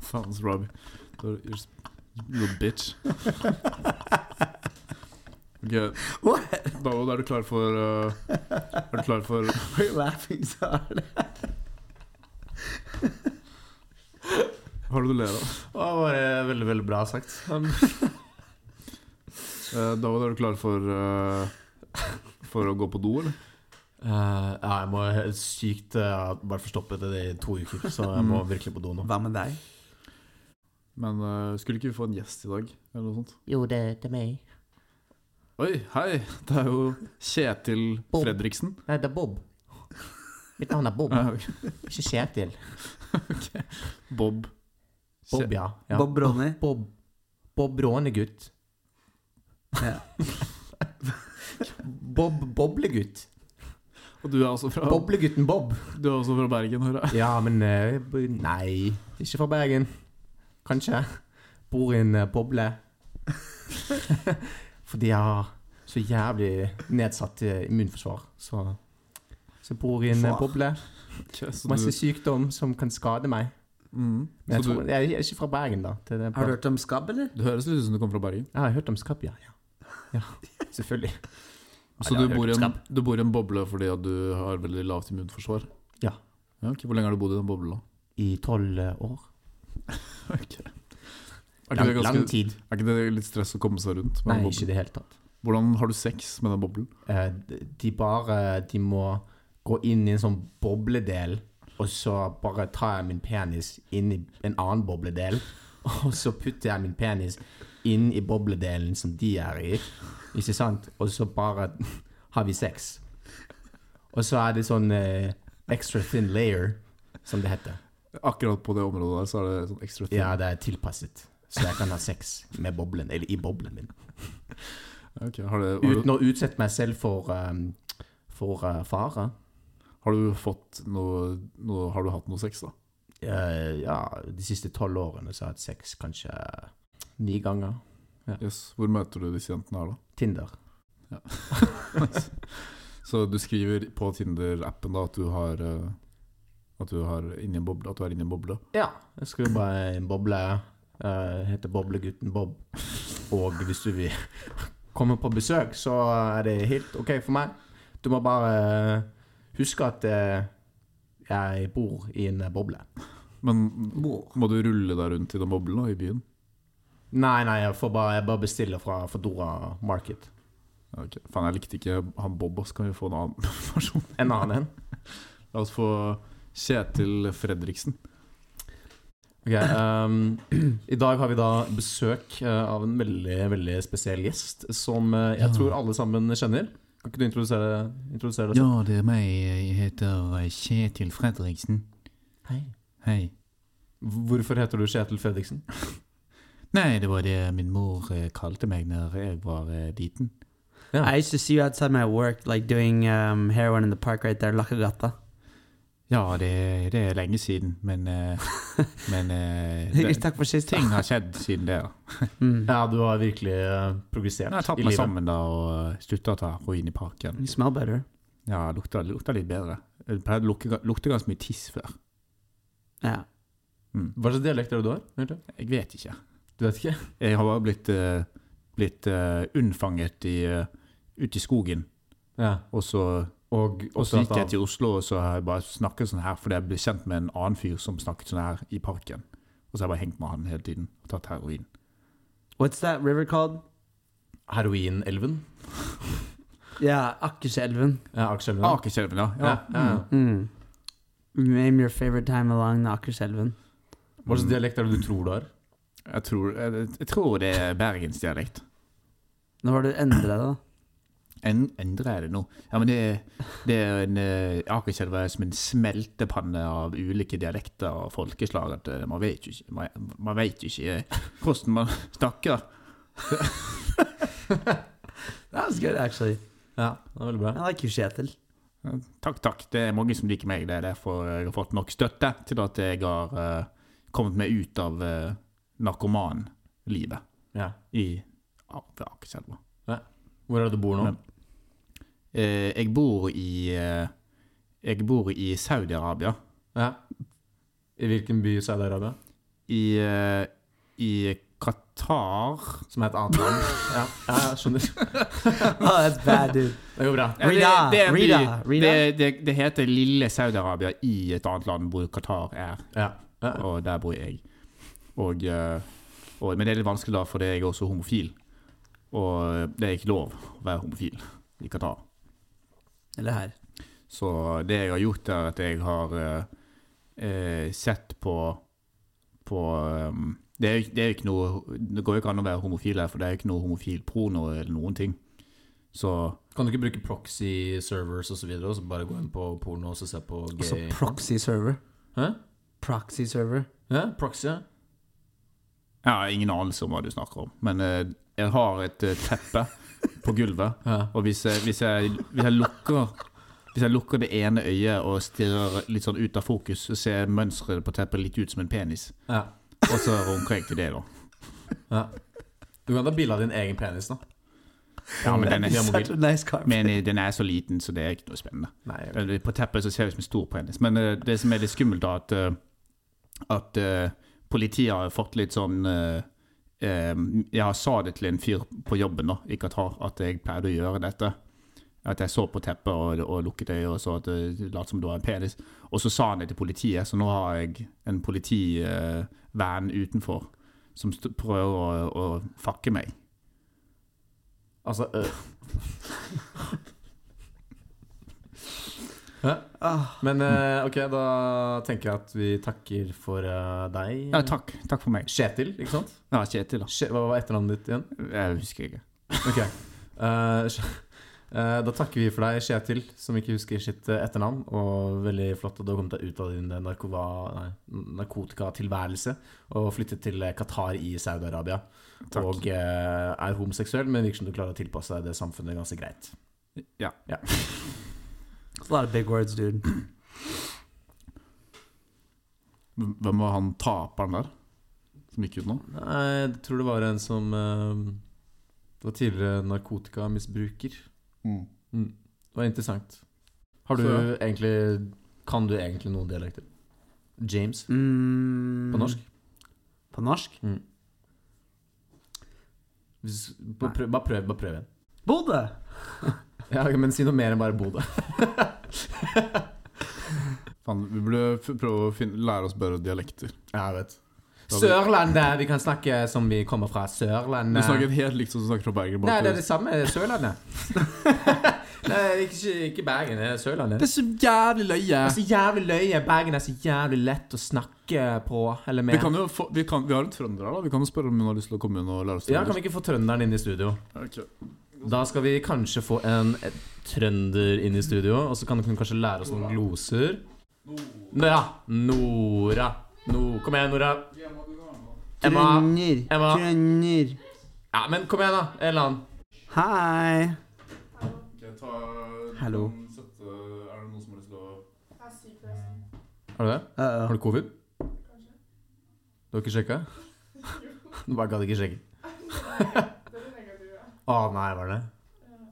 [SPEAKER 1] Faen, så Robbie. You're you're a bitch. Ok, David, er du klar for eh, Er du klar for
[SPEAKER 2] We're laughing so hard.
[SPEAKER 1] Hva er det du ler av?
[SPEAKER 3] Det var bare veldig, veldig bra sagt.
[SPEAKER 1] Eh, David, er du klar for eh, For å gå på do, eller?
[SPEAKER 3] Eh, ja, jeg må helt sykt eh, Jeg har bare forstoppet det i to uker, så jeg må virkelig på do nå.
[SPEAKER 2] Hva med deg?
[SPEAKER 1] Men eh, skulle ikke vi få en gjest i dag? Eller noe sånt?
[SPEAKER 5] Jo, det, det er meg.
[SPEAKER 1] Oi, hei! Det er jo Kjetil Fredriksen.
[SPEAKER 5] Nei, det er Bob. Mitt navn er Bob,
[SPEAKER 3] Ah,
[SPEAKER 1] Eh, ok.
[SPEAKER 5] ikke Kjetil.
[SPEAKER 1] Bob.
[SPEAKER 3] Bob, ja. ja.
[SPEAKER 2] Bob Bronny.
[SPEAKER 5] Bob. Bob Rånegutt.
[SPEAKER 2] Ja.
[SPEAKER 5] Bob Boblegutt.
[SPEAKER 1] Og du er også fra,
[SPEAKER 3] Boblegutten Bob.
[SPEAKER 1] du er også fra Bergen, hører jeg.
[SPEAKER 3] Ja, men eh, b- Nei, ikke fra Bergen. Kanskje. Bor i en eh, boble. Fordi jeg har så jævlig nedsatt eh, immunforsvar. Så, så jeg bor i en eh,
[SPEAKER 2] Forsvar.
[SPEAKER 3] boble.
[SPEAKER 1] Ok, så
[SPEAKER 3] Masse
[SPEAKER 1] du,
[SPEAKER 3] sykdom som kan skade meg.
[SPEAKER 1] mm,
[SPEAKER 3] Men
[SPEAKER 1] så
[SPEAKER 3] jeg, tror,
[SPEAKER 1] du,
[SPEAKER 3] jeg er ikke fra Bergen, da. Det er det
[SPEAKER 2] Har du
[SPEAKER 3] bare-
[SPEAKER 2] hørt om skabb, eller?
[SPEAKER 1] du høres litt ut som du kommer fra Bergen.
[SPEAKER 3] Ja, jeg har hørt om skabb, ja. ja. Ja, selvfølgelig.
[SPEAKER 1] Så
[SPEAKER 3] Ja, det har
[SPEAKER 1] du
[SPEAKER 3] jeg
[SPEAKER 1] bor, i
[SPEAKER 3] hørt om
[SPEAKER 1] en,
[SPEAKER 3] skabb.
[SPEAKER 1] du bor i en boble fordi at du har veldig lavt immunforsvar?
[SPEAKER 3] Ja.
[SPEAKER 1] ok. Hvor lenge har du bodd i den bobla?
[SPEAKER 3] I tolv eh, år.
[SPEAKER 1] Er ikke,
[SPEAKER 3] Lang,
[SPEAKER 1] det
[SPEAKER 3] lang
[SPEAKER 1] ganske,
[SPEAKER 3] tid.
[SPEAKER 1] er ikke det litt stress å komme seg rundt? Med
[SPEAKER 3] Nei,
[SPEAKER 1] den
[SPEAKER 3] ikke i
[SPEAKER 1] boblen?
[SPEAKER 3] det hele tatt.
[SPEAKER 1] Hvordan har du sex med den boblen?
[SPEAKER 3] Eh, De bare De må gå inn i en sånn bobledel, og så bare tar jeg min penis inn i en annen bobledel, og så putter jeg min penis inn i bobledelen som de er i, ikke sant? Og så bare har vi sex. Og så er det sånn eh, extra thin layer, som det heter.
[SPEAKER 1] Akkurat på det området der så er det sånn ekstra thin.
[SPEAKER 3] Ja, det er tilpasset. Så jeg kan ha sex med boblen, eller i boblen min.
[SPEAKER 1] Ok, har, det, har,
[SPEAKER 3] Uten å utsette meg selv for, eh, for eh, fare.
[SPEAKER 1] du, har du fått noe, noe Har du hatt noe sex, da?
[SPEAKER 3] Eh, ja, de siste tolv årene så har jeg hatt sex kanskje ni ganger.
[SPEAKER 1] Yes. Hvor møter du disse jentene her, da?
[SPEAKER 3] Tinder.
[SPEAKER 1] Så du skriver på Tinder-appen da at du har eh, At du har inni en boble At du er inni en boble
[SPEAKER 3] Ja. Jeg skriver bare i en boble. Eh, heter Boblegutten Bob. Og hvis du vil komme på besøk, så er det helt OK for meg. Du må bare huske at eh, jeg bor i en boble.
[SPEAKER 6] Men må du rulle deg rundt i den boblen da, i byen?
[SPEAKER 3] Nei, nei, jeg, får bare, jeg bare bestiller fra Fedora Market.
[SPEAKER 6] Ja, ok. Faen, jeg likte ikke han Bob, ass. Kan vi få en annen person?
[SPEAKER 3] En annen en.
[SPEAKER 6] La oss få Kjetil Fredriksen.
[SPEAKER 3] Ok, ehm, I dag har vi da besøk eh, av en veldig veldig spesiell gjest som eh, jeg tror alle sammen kjenner. Kan ikke du introdusere, introdusere deg selv?
[SPEAKER 1] Ja, det er meg. Jeg heter eh, Kjetil Fredriksen.
[SPEAKER 3] Hei.
[SPEAKER 1] Hei.
[SPEAKER 3] Hvorfor heter du Kjetil Fredriksen?
[SPEAKER 1] Nei, det var det min mor eh, kalte meg når jeg var eh, liten.
[SPEAKER 3] Yeah.
[SPEAKER 2] I used to see you outside my work, like doing um, heroin in the park right there, Lakagata.
[SPEAKER 1] Ja, det, det er lenge siden, men eh, Men eh,
[SPEAKER 2] Ikke
[SPEAKER 1] det,
[SPEAKER 2] takk for sist.
[SPEAKER 1] ting har skjedd siden det. da.
[SPEAKER 2] Mm.
[SPEAKER 3] Ja, du har virkelig eh, progressert
[SPEAKER 1] Jeg har tatt
[SPEAKER 3] i
[SPEAKER 1] meg
[SPEAKER 3] livet. Liksom.
[SPEAKER 1] sammen da og eh, sluttet å ta heroin i parken.
[SPEAKER 2] You smell better.
[SPEAKER 1] Ja, lukta, lukta litt bedre. Jeg pleide å lukte, lukte ganske mye tiss før.
[SPEAKER 2] Ja.
[SPEAKER 3] Hva slags dialekt er det du har? Hørte?
[SPEAKER 1] Jeg vet ikke.
[SPEAKER 3] Du vet ikke?
[SPEAKER 1] Jeg har bare blitt, eh, blitt eh, unnfanget i, eh, ute i skogen,
[SPEAKER 3] Ja.
[SPEAKER 1] og så
[SPEAKER 3] Og,
[SPEAKER 1] Og så gikk jeg
[SPEAKER 3] til
[SPEAKER 1] til Oslo og så har jeg bare snakket sånn her, fordi jeg ble kjent med en annen fyr som snakket sånn her i parken. Og så har jeg bare hengt med han hele tiden og tatt heroin.
[SPEAKER 2] What's that river called?
[SPEAKER 3] Heroinelven.
[SPEAKER 2] Yeah, Akerselven.
[SPEAKER 3] Ja,
[SPEAKER 1] Ah,
[SPEAKER 3] Akerselven.
[SPEAKER 1] Akerselven, ja. ja.
[SPEAKER 3] ja, ja. ja.
[SPEAKER 2] Mm. Name your favorite time along the Akerselven.
[SPEAKER 3] Hva slags dialekt er det du tror du har?
[SPEAKER 1] Jeg, tror, jeg, jeg tror det er bergensdialekt.
[SPEAKER 2] Nå har du endret det, da.
[SPEAKER 1] En, endrer jeg det nå? Ja, men det, det er en eh, Akerselva er som en smeltepanne av ulike dialekter og folkeslag. At eh, man vet jo ikke, man, man vet jo ikke eh, hvordan man snakker.
[SPEAKER 2] That was good, actually.
[SPEAKER 3] Ja, det er veldig bra.
[SPEAKER 2] I like you, Kjetil.
[SPEAKER 1] Takk, takk. Det er mange som liker meg. Det er derfor jeg har fått nok støtte til at jeg har eh, kommet meg ut av eh, narkomanlivet
[SPEAKER 3] Ja.
[SPEAKER 1] i ja, ved Akerselva.
[SPEAKER 3] Hvor er det du bor nå?
[SPEAKER 1] Men- Eh, jeg bor i eh, Jeg bor i Saudi-Arabia.
[SPEAKER 3] Ja. I hvilken by i Saudi-Arabia?
[SPEAKER 1] I, eh, I Qatar
[SPEAKER 3] Som er et annet land. Ja, ja jeg skjønner.
[SPEAKER 2] Oh, that's bad, dude.
[SPEAKER 3] Det går bra.
[SPEAKER 1] Ja, det-
[SPEAKER 2] Rida,
[SPEAKER 1] det er en by.
[SPEAKER 2] Rida, Rida.
[SPEAKER 1] Det, det, det heter Lille Saudi-Arabia i et annet land hvor Qatar er.
[SPEAKER 3] Ja. Ja.
[SPEAKER 1] og der bor jeg. Og, eh, og, men det er litt vanskelig da, fordi jeg er også homofil. Og det er ikke lov å være homofil i Qatar.
[SPEAKER 2] Eller her.
[SPEAKER 1] Så det jeg har gjort, er at jeg har eh, eh, sett på på ehm, det, er, jo- det er jo ikke noe Det går jo ikke an å være homofil her, for det er jo ikke noe homofil porno eller noen ting. Så
[SPEAKER 3] Kan du ikke bruke proxy servers og så videre, og så bare gå inn på porno og så se på gay
[SPEAKER 2] Also, proxy server.
[SPEAKER 3] Hæ?
[SPEAKER 2] Proxy server.
[SPEAKER 3] Ja, proxy, ja.
[SPEAKER 1] jeg har ingen anelse om hva du snakker om, men eh, jeg har et eh, teppe på gulvet
[SPEAKER 3] ja.
[SPEAKER 1] Og hvis jeg, hvis jeg, hvis jeg lukker Hvis jeg lukker det ene øyet og stirrer litt sånn ut av fokus, så ser mønsteret på teppet litt ut som en penis.
[SPEAKER 3] ja.
[SPEAKER 1] Og så runker jeg til det, da.
[SPEAKER 3] Du kan ta bilde av din egen penis, da.
[SPEAKER 1] Ja, men den
[SPEAKER 3] Via
[SPEAKER 1] er,
[SPEAKER 3] mobil.
[SPEAKER 2] Such a nice car.
[SPEAKER 1] men eh, den er så liten, så det er ikke noe spennende.
[SPEAKER 3] Nei, jeg vet
[SPEAKER 1] Eller På teppet så ser det ut som en stor penis. Men eh, det som er litt skummelt, da, at, eh, at eh, politiet har fått litt sånn eh, eh, Jeg sa det til en fyr på jobben da, i Qatar, at jeg pleide å gjøre dette. At jeg så på teppet og, og lukket øyet og så at eh, det lot som det var en penis. Og så sa han det til politiet, så nå har jeg en politivan utenfor som st prøver å, å fakke meg.
[SPEAKER 3] Altså øh. Hæ?
[SPEAKER 1] Ah.
[SPEAKER 3] Men eh, ok, da tenker jeg at vi takker for eh, deg.
[SPEAKER 1] Ja, takk. Takk for meg.
[SPEAKER 3] Kjetil, ikke sant?
[SPEAKER 1] Ja, Kjetil, da.
[SPEAKER 3] Kje, hva var etternavnet ditt igjen?
[SPEAKER 1] Jeg husker ikke.
[SPEAKER 3] Ok. Eh, Kje- eh, da takker vi for deg, Kjetil, som ikke husker sitt eh, etternavn. Og veldig flott at du har kommet deg ut av din eh, narkova, nei, narkotikatilværelse og flyttet til eh, Qatar i Saudi-Arabia.
[SPEAKER 1] Takk.
[SPEAKER 3] Og eh, er homoseksuell, men virker som du klarer å tilpasse deg det samfunnet ganske greit.
[SPEAKER 2] It's a lot of big words, dude.
[SPEAKER 1] Hvem var han taperen der? Som gikk ut nå?
[SPEAKER 3] Nei, jeg tror det var en som eh, Det var tidligere narkotikamisbruker. Mm. Det var interessant. Har du
[SPEAKER 1] Så,
[SPEAKER 3] egentlig Kan du egentlig noen dialekter? James
[SPEAKER 2] Mm.
[SPEAKER 3] på norsk?
[SPEAKER 2] På norsk?
[SPEAKER 3] Hvis- Bare prøv, bare prøv, bare prøv igjen.
[SPEAKER 2] Bodø!
[SPEAKER 3] Ja, men si noe mer enn bare Bodø.
[SPEAKER 1] Faen, vi burde f prøve å finne, lære oss bedre dialekter.
[SPEAKER 3] Ja, jeg vet. Sørlandet! Vi kan snakke som vi kommer fra Sørlandet.
[SPEAKER 1] Du snakker helt likt som du snakker fra Bergen.
[SPEAKER 3] Nei,
[SPEAKER 1] bare
[SPEAKER 3] det er
[SPEAKER 1] at
[SPEAKER 3] det samme. det er Sørlandet. Nei, ikke, ikke Bergen, det er Sørlandet.
[SPEAKER 1] det er så jævlig løye!
[SPEAKER 3] Det er så jævlig løye. Bergen er så jævlig lett å snakke på eller
[SPEAKER 1] Vi,
[SPEAKER 3] med.
[SPEAKER 1] kan jo få, vi, kan, vi har en trønder her, da. Vi kan jo spørre om hun har lyst til å komme inn og lære oss
[SPEAKER 3] Ja, kan vi ikke få trønderen inn i studio?
[SPEAKER 1] Ok.
[SPEAKER 3] Da skal vi kanskje få en et trønder inn i studio, og så kan hun kanskje lære oss noen gloser. Nora. Nora. No, kom igjen, Nora. Emma.
[SPEAKER 2] Trønder.
[SPEAKER 3] Emma.
[SPEAKER 2] Trønder.
[SPEAKER 3] Ja, men kom igjen, da. En eller annen.
[SPEAKER 2] Hei. Hallo.
[SPEAKER 1] er det noen som har lyst til å
[SPEAKER 3] Har du det?
[SPEAKER 2] Uh-oh.
[SPEAKER 3] Har du covid? Du har ikke sjekka? Du bare gadd ikke sjekke? Å nei, var det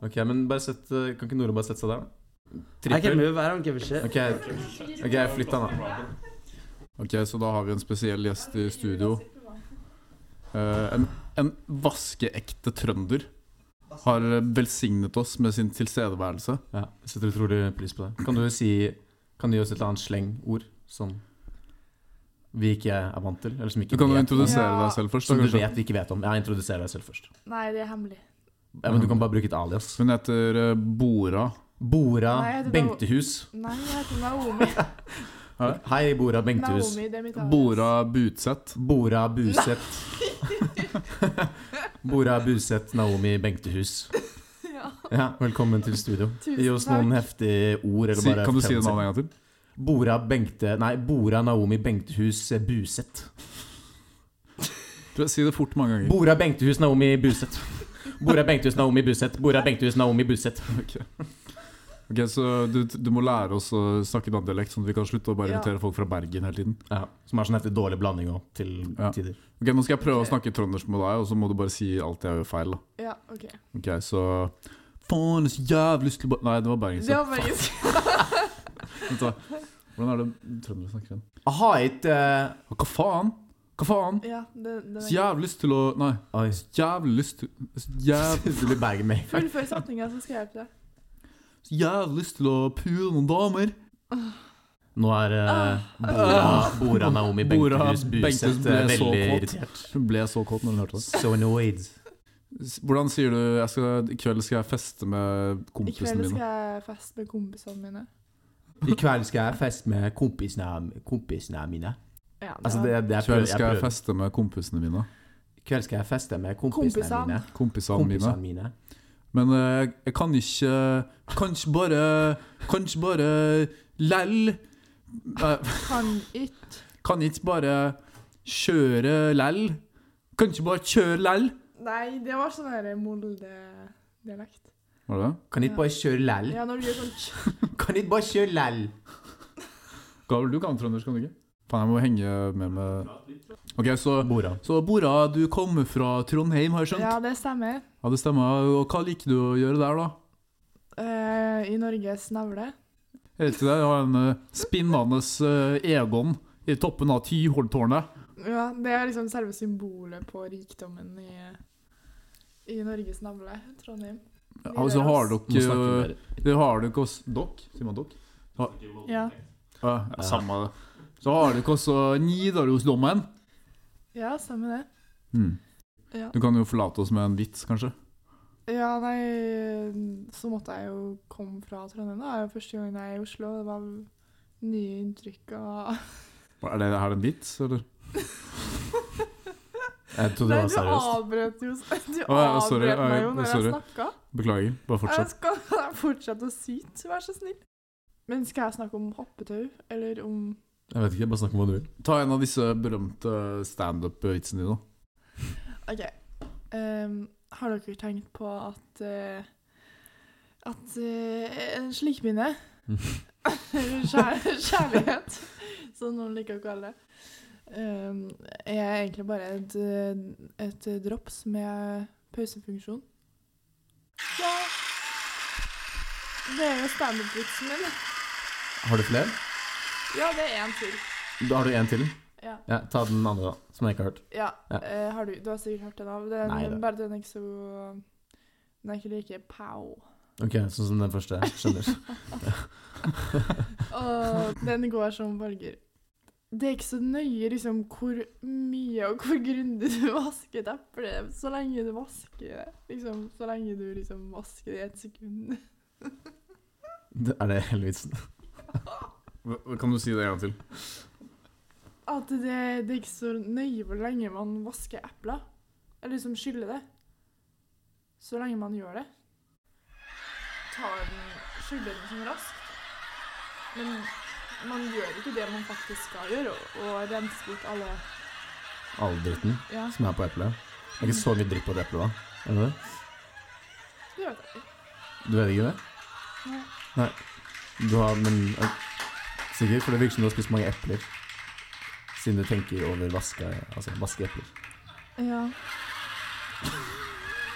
[SPEAKER 3] Ok, men bare sett, eh, Kan ikke Nora bare sette seg der, da?
[SPEAKER 2] I can
[SPEAKER 3] Trippel?
[SPEAKER 2] move. I don't give a shit.
[SPEAKER 3] Ok, ok, flytt den, da.
[SPEAKER 1] Ok, så da har vi en spesiell gjest i studio. Eh, en, en vaskeekte trønder har velsignet oss med sin tilstedeværelse.
[SPEAKER 3] Ja, jeg setter utrolig pris på det. Kan du si Kan du gi oss et eller annet slengord som vi ikke er vant til? Eller som
[SPEAKER 1] Du
[SPEAKER 3] ikke
[SPEAKER 1] kan jo
[SPEAKER 3] vet,
[SPEAKER 1] introdusere
[SPEAKER 7] Ja.
[SPEAKER 1] deg selv først.
[SPEAKER 3] som
[SPEAKER 1] Da,
[SPEAKER 3] du
[SPEAKER 1] kanskje.
[SPEAKER 3] vet vi ikke vet om. Ja, introduser deg selv først.
[SPEAKER 7] Nei, det er hemmelig.
[SPEAKER 3] Ja, men Du kan bare bruke et alias.
[SPEAKER 1] Hun heter eh, Bora.
[SPEAKER 3] Bora
[SPEAKER 7] Nei, det var-
[SPEAKER 3] Bengtehus.
[SPEAKER 7] Nei, jeg heter Naomi.
[SPEAKER 3] Hei, Bora Bengtehus.
[SPEAKER 7] Naomi, det er mitt navn.
[SPEAKER 1] Bora Butseth.
[SPEAKER 3] Bora Buseth. Bora Buseth Naomi Bengtehus.
[SPEAKER 7] Ja.
[SPEAKER 3] Ja, velkommen til studio.
[SPEAKER 7] Tusen
[SPEAKER 3] Gi oss noen
[SPEAKER 7] takk.
[SPEAKER 3] heftige ord. Eller
[SPEAKER 1] Si,
[SPEAKER 3] bare
[SPEAKER 1] kan du si
[SPEAKER 3] fortell
[SPEAKER 1] det
[SPEAKER 3] oss
[SPEAKER 1] navnet en gang til?
[SPEAKER 3] litt. Bora Bengte... Nei, Bora Naomi Bengtehus Buseth.
[SPEAKER 1] Du, si det fort mange ganger.
[SPEAKER 3] Bora Bengtehus Naomi Buseth. Bora Bengtehus Naomi Buseth. Bora Bengtehus Naomi Buseth.
[SPEAKER 1] Ok, så du, du må lære oss å snakke en annen dialekt, sånn at vi kan slutte å bare
[SPEAKER 7] Ja.
[SPEAKER 1] invitere folk fra Bergen hele tiden.
[SPEAKER 3] Ja, som har sånn heftig dårlig blanding òg, til
[SPEAKER 1] Ja.
[SPEAKER 3] tider.
[SPEAKER 1] Ok, Nå skal jeg prøve å snakke trøndersk med deg, og så må du bare si alt jeg gjør feil. da.
[SPEAKER 7] Ja, ok.
[SPEAKER 1] Ok, så Faen, så jævlig lyst til å ba- Nei, det var bergensk.
[SPEAKER 7] Det var bergensk.
[SPEAKER 1] Vent da. Hvordan er det trøndere snakker igjen?
[SPEAKER 3] Heit eh,
[SPEAKER 1] Hva faen? Hva faen?
[SPEAKER 7] Ja, det, det
[SPEAKER 1] Så
[SPEAKER 7] var
[SPEAKER 1] jævlig lyst til å Nei.
[SPEAKER 3] Oi.
[SPEAKER 1] Så jævlig lyst til Så jævlig,
[SPEAKER 3] Du blir Bergen med.
[SPEAKER 7] Fullfør setninga, så skal jeg hjelpe deg.
[SPEAKER 1] så jævlig lyst til å pule noen damer.
[SPEAKER 3] Nå er
[SPEAKER 7] Ah.
[SPEAKER 3] eh, Bora, Bora Naomi
[SPEAKER 1] Bora
[SPEAKER 3] Bengtehus
[SPEAKER 1] Bengtehus
[SPEAKER 3] Buseth
[SPEAKER 1] ble
[SPEAKER 3] eh,
[SPEAKER 1] så
[SPEAKER 3] veldig
[SPEAKER 1] kåt.
[SPEAKER 3] irritert.
[SPEAKER 1] Hun ble så kåt når hun hørte det.
[SPEAKER 3] So annoyed.
[SPEAKER 1] S- Hvordan sier du jeg skal, 'i kveld skal jeg feste med
[SPEAKER 7] I kveld
[SPEAKER 1] kompisene
[SPEAKER 7] skal
[SPEAKER 1] mine'?
[SPEAKER 7] jeg feste med kompisene mine.
[SPEAKER 3] I kveld skal jeg feste med kompisene, kompisene mine.
[SPEAKER 7] Ja, det
[SPEAKER 3] Altså,
[SPEAKER 7] var-
[SPEAKER 3] det, det
[SPEAKER 1] I
[SPEAKER 3] jeg prøver,
[SPEAKER 1] kveld
[SPEAKER 3] jeg
[SPEAKER 1] skal jeg
[SPEAKER 3] prøver.
[SPEAKER 1] feste med kompisene mine.
[SPEAKER 3] I kveld skal jeg feste med kompisene
[SPEAKER 7] Kompisene.
[SPEAKER 3] mine.
[SPEAKER 1] Kompisene
[SPEAKER 3] Kompisene
[SPEAKER 1] mine.
[SPEAKER 3] mine.
[SPEAKER 1] Men eh, jeg kan ikke Kanskje bare Kanskje bare Lell. Eh,
[SPEAKER 7] Kan ikke
[SPEAKER 1] Kan ikke bare kjøre lell. Kan ikke bare kjøre lell.
[SPEAKER 7] Nei, det var sånn her Molde-dialekt.
[SPEAKER 1] Var det det?
[SPEAKER 3] Kan ikke bare kjøre læll.
[SPEAKER 7] Ja, når du gjør sånn tj-
[SPEAKER 3] Kan ikke bare kjøre læll.
[SPEAKER 1] Gabriel, du kan trøndersk, kan du ikke? Faen, jeg må henge med med Ok, så,
[SPEAKER 3] Bora.
[SPEAKER 1] så Bora, du kommer fra Trondheim, har jeg skjønt?
[SPEAKER 7] Ja,
[SPEAKER 1] Ja.
[SPEAKER 7] det stemmer.
[SPEAKER 1] det stemmer. Og hva liker du å gjøre der, da?
[SPEAKER 7] Eh, I Norges navle.
[SPEAKER 1] Jeg vet ikke det, jeg har en uh, spinnende eh, Egon i toppen av Tyholttårnet.
[SPEAKER 7] Ja, det er liksom selve symbolet på rikdommen i, i Norges navle, Trondheim.
[SPEAKER 1] Ja, Og så har
[SPEAKER 3] Nå snakker vi
[SPEAKER 1] dere eh,
[SPEAKER 3] mer.
[SPEAKER 1] Det har dere oss Dokk? Sier man dokk?
[SPEAKER 7] Ja.
[SPEAKER 1] Ja, ja, samme det. Så har dere også Nidarosdommen.
[SPEAKER 7] ja, stemmer det.
[SPEAKER 1] Mm.
[SPEAKER 7] Ja.
[SPEAKER 1] Du kan jo forlate oss med en vits, kanskje?
[SPEAKER 7] ja, nei, så måtte jeg jo komme fra Trondheim. da. Det er jo første gang jeg er i Oslo. og Det var nye inntrykk og
[SPEAKER 1] Er det her en vits, eller?
[SPEAKER 3] Jeg trodde
[SPEAKER 7] Nei,
[SPEAKER 3] det var
[SPEAKER 7] du
[SPEAKER 3] seriøst.
[SPEAKER 7] avbrøt jo Du
[SPEAKER 1] Å, ja,
[SPEAKER 7] avbrøt
[SPEAKER 1] sorry,
[SPEAKER 7] meg jo
[SPEAKER 1] jeg-
[SPEAKER 7] når
[SPEAKER 1] sorry.
[SPEAKER 7] jeg snakka.
[SPEAKER 1] Beklager, bare
[SPEAKER 7] Jeg
[SPEAKER 1] fortsett.
[SPEAKER 7] skal jeg fortsette å syte, vær så snill. Men skal jeg snakke om hoppetau, eller om
[SPEAKER 3] Jeg vet ikke, bare snakk om hva du vil.
[SPEAKER 1] Ta en av disse berømte eh, standup-vitsene dine.
[SPEAKER 7] OK. ehm, har dere tenkt på at eh, At eh, en slikepinne Eller kjær, kjærlighet, som noen liker å kalle det, ehm, er egentlig bare et, eh, et drops med pausefunksjon. Ja. Det er jo standup-vitsen min.
[SPEAKER 3] Har du flere?
[SPEAKER 7] Ja, det er en til.
[SPEAKER 3] Da har du en til.
[SPEAKER 7] Ja.
[SPEAKER 3] Ja, ta den andre, da. Som jeg ikke har hørt.
[SPEAKER 7] ja.
[SPEAKER 3] Ja.
[SPEAKER 7] Eh, har du, du har sikkert hørt den av. Den,
[SPEAKER 3] Nei, det-
[SPEAKER 7] bare den er ikke så Den er ikke like pow.
[SPEAKER 3] Ok, Sånn som den første. Skjønner.
[SPEAKER 7] Og den går som følger. Det er ikke så nøye liksom, hvor mye og hvor grundig du vasker et eple, så lenge du vasker det. Liksom, så lenge du liksom vasker det i ett sekund.
[SPEAKER 3] Det- Er det hele vitsen?
[SPEAKER 1] Hva- Kan du si det en gang til?
[SPEAKER 7] At det, det er ikke så nøye hvor lenge man vasker epler. Eller liksom skyller det. Så lenge man gjør det. Tar den, skyller den sånn raskt. Men man gjør ikke det man faktisk skal gjøre, og, og renser bort alle
[SPEAKER 3] All dritten
[SPEAKER 7] Ja,
[SPEAKER 3] som er på eplet? Det er ikke så mye dritt på det eplet, da? Er det det?
[SPEAKER 7] det vet jeg.
[SPEAKER 3] Du vet ikke det?
[SPEAKER 7] Nei.
[SPEAKER 3] Nei. Du har, men eh, Sikkert, for det virker som du har spist mange epler. Siden du tenker over vaske, altså, vaske epler.
[SPEAKER 7] Ja.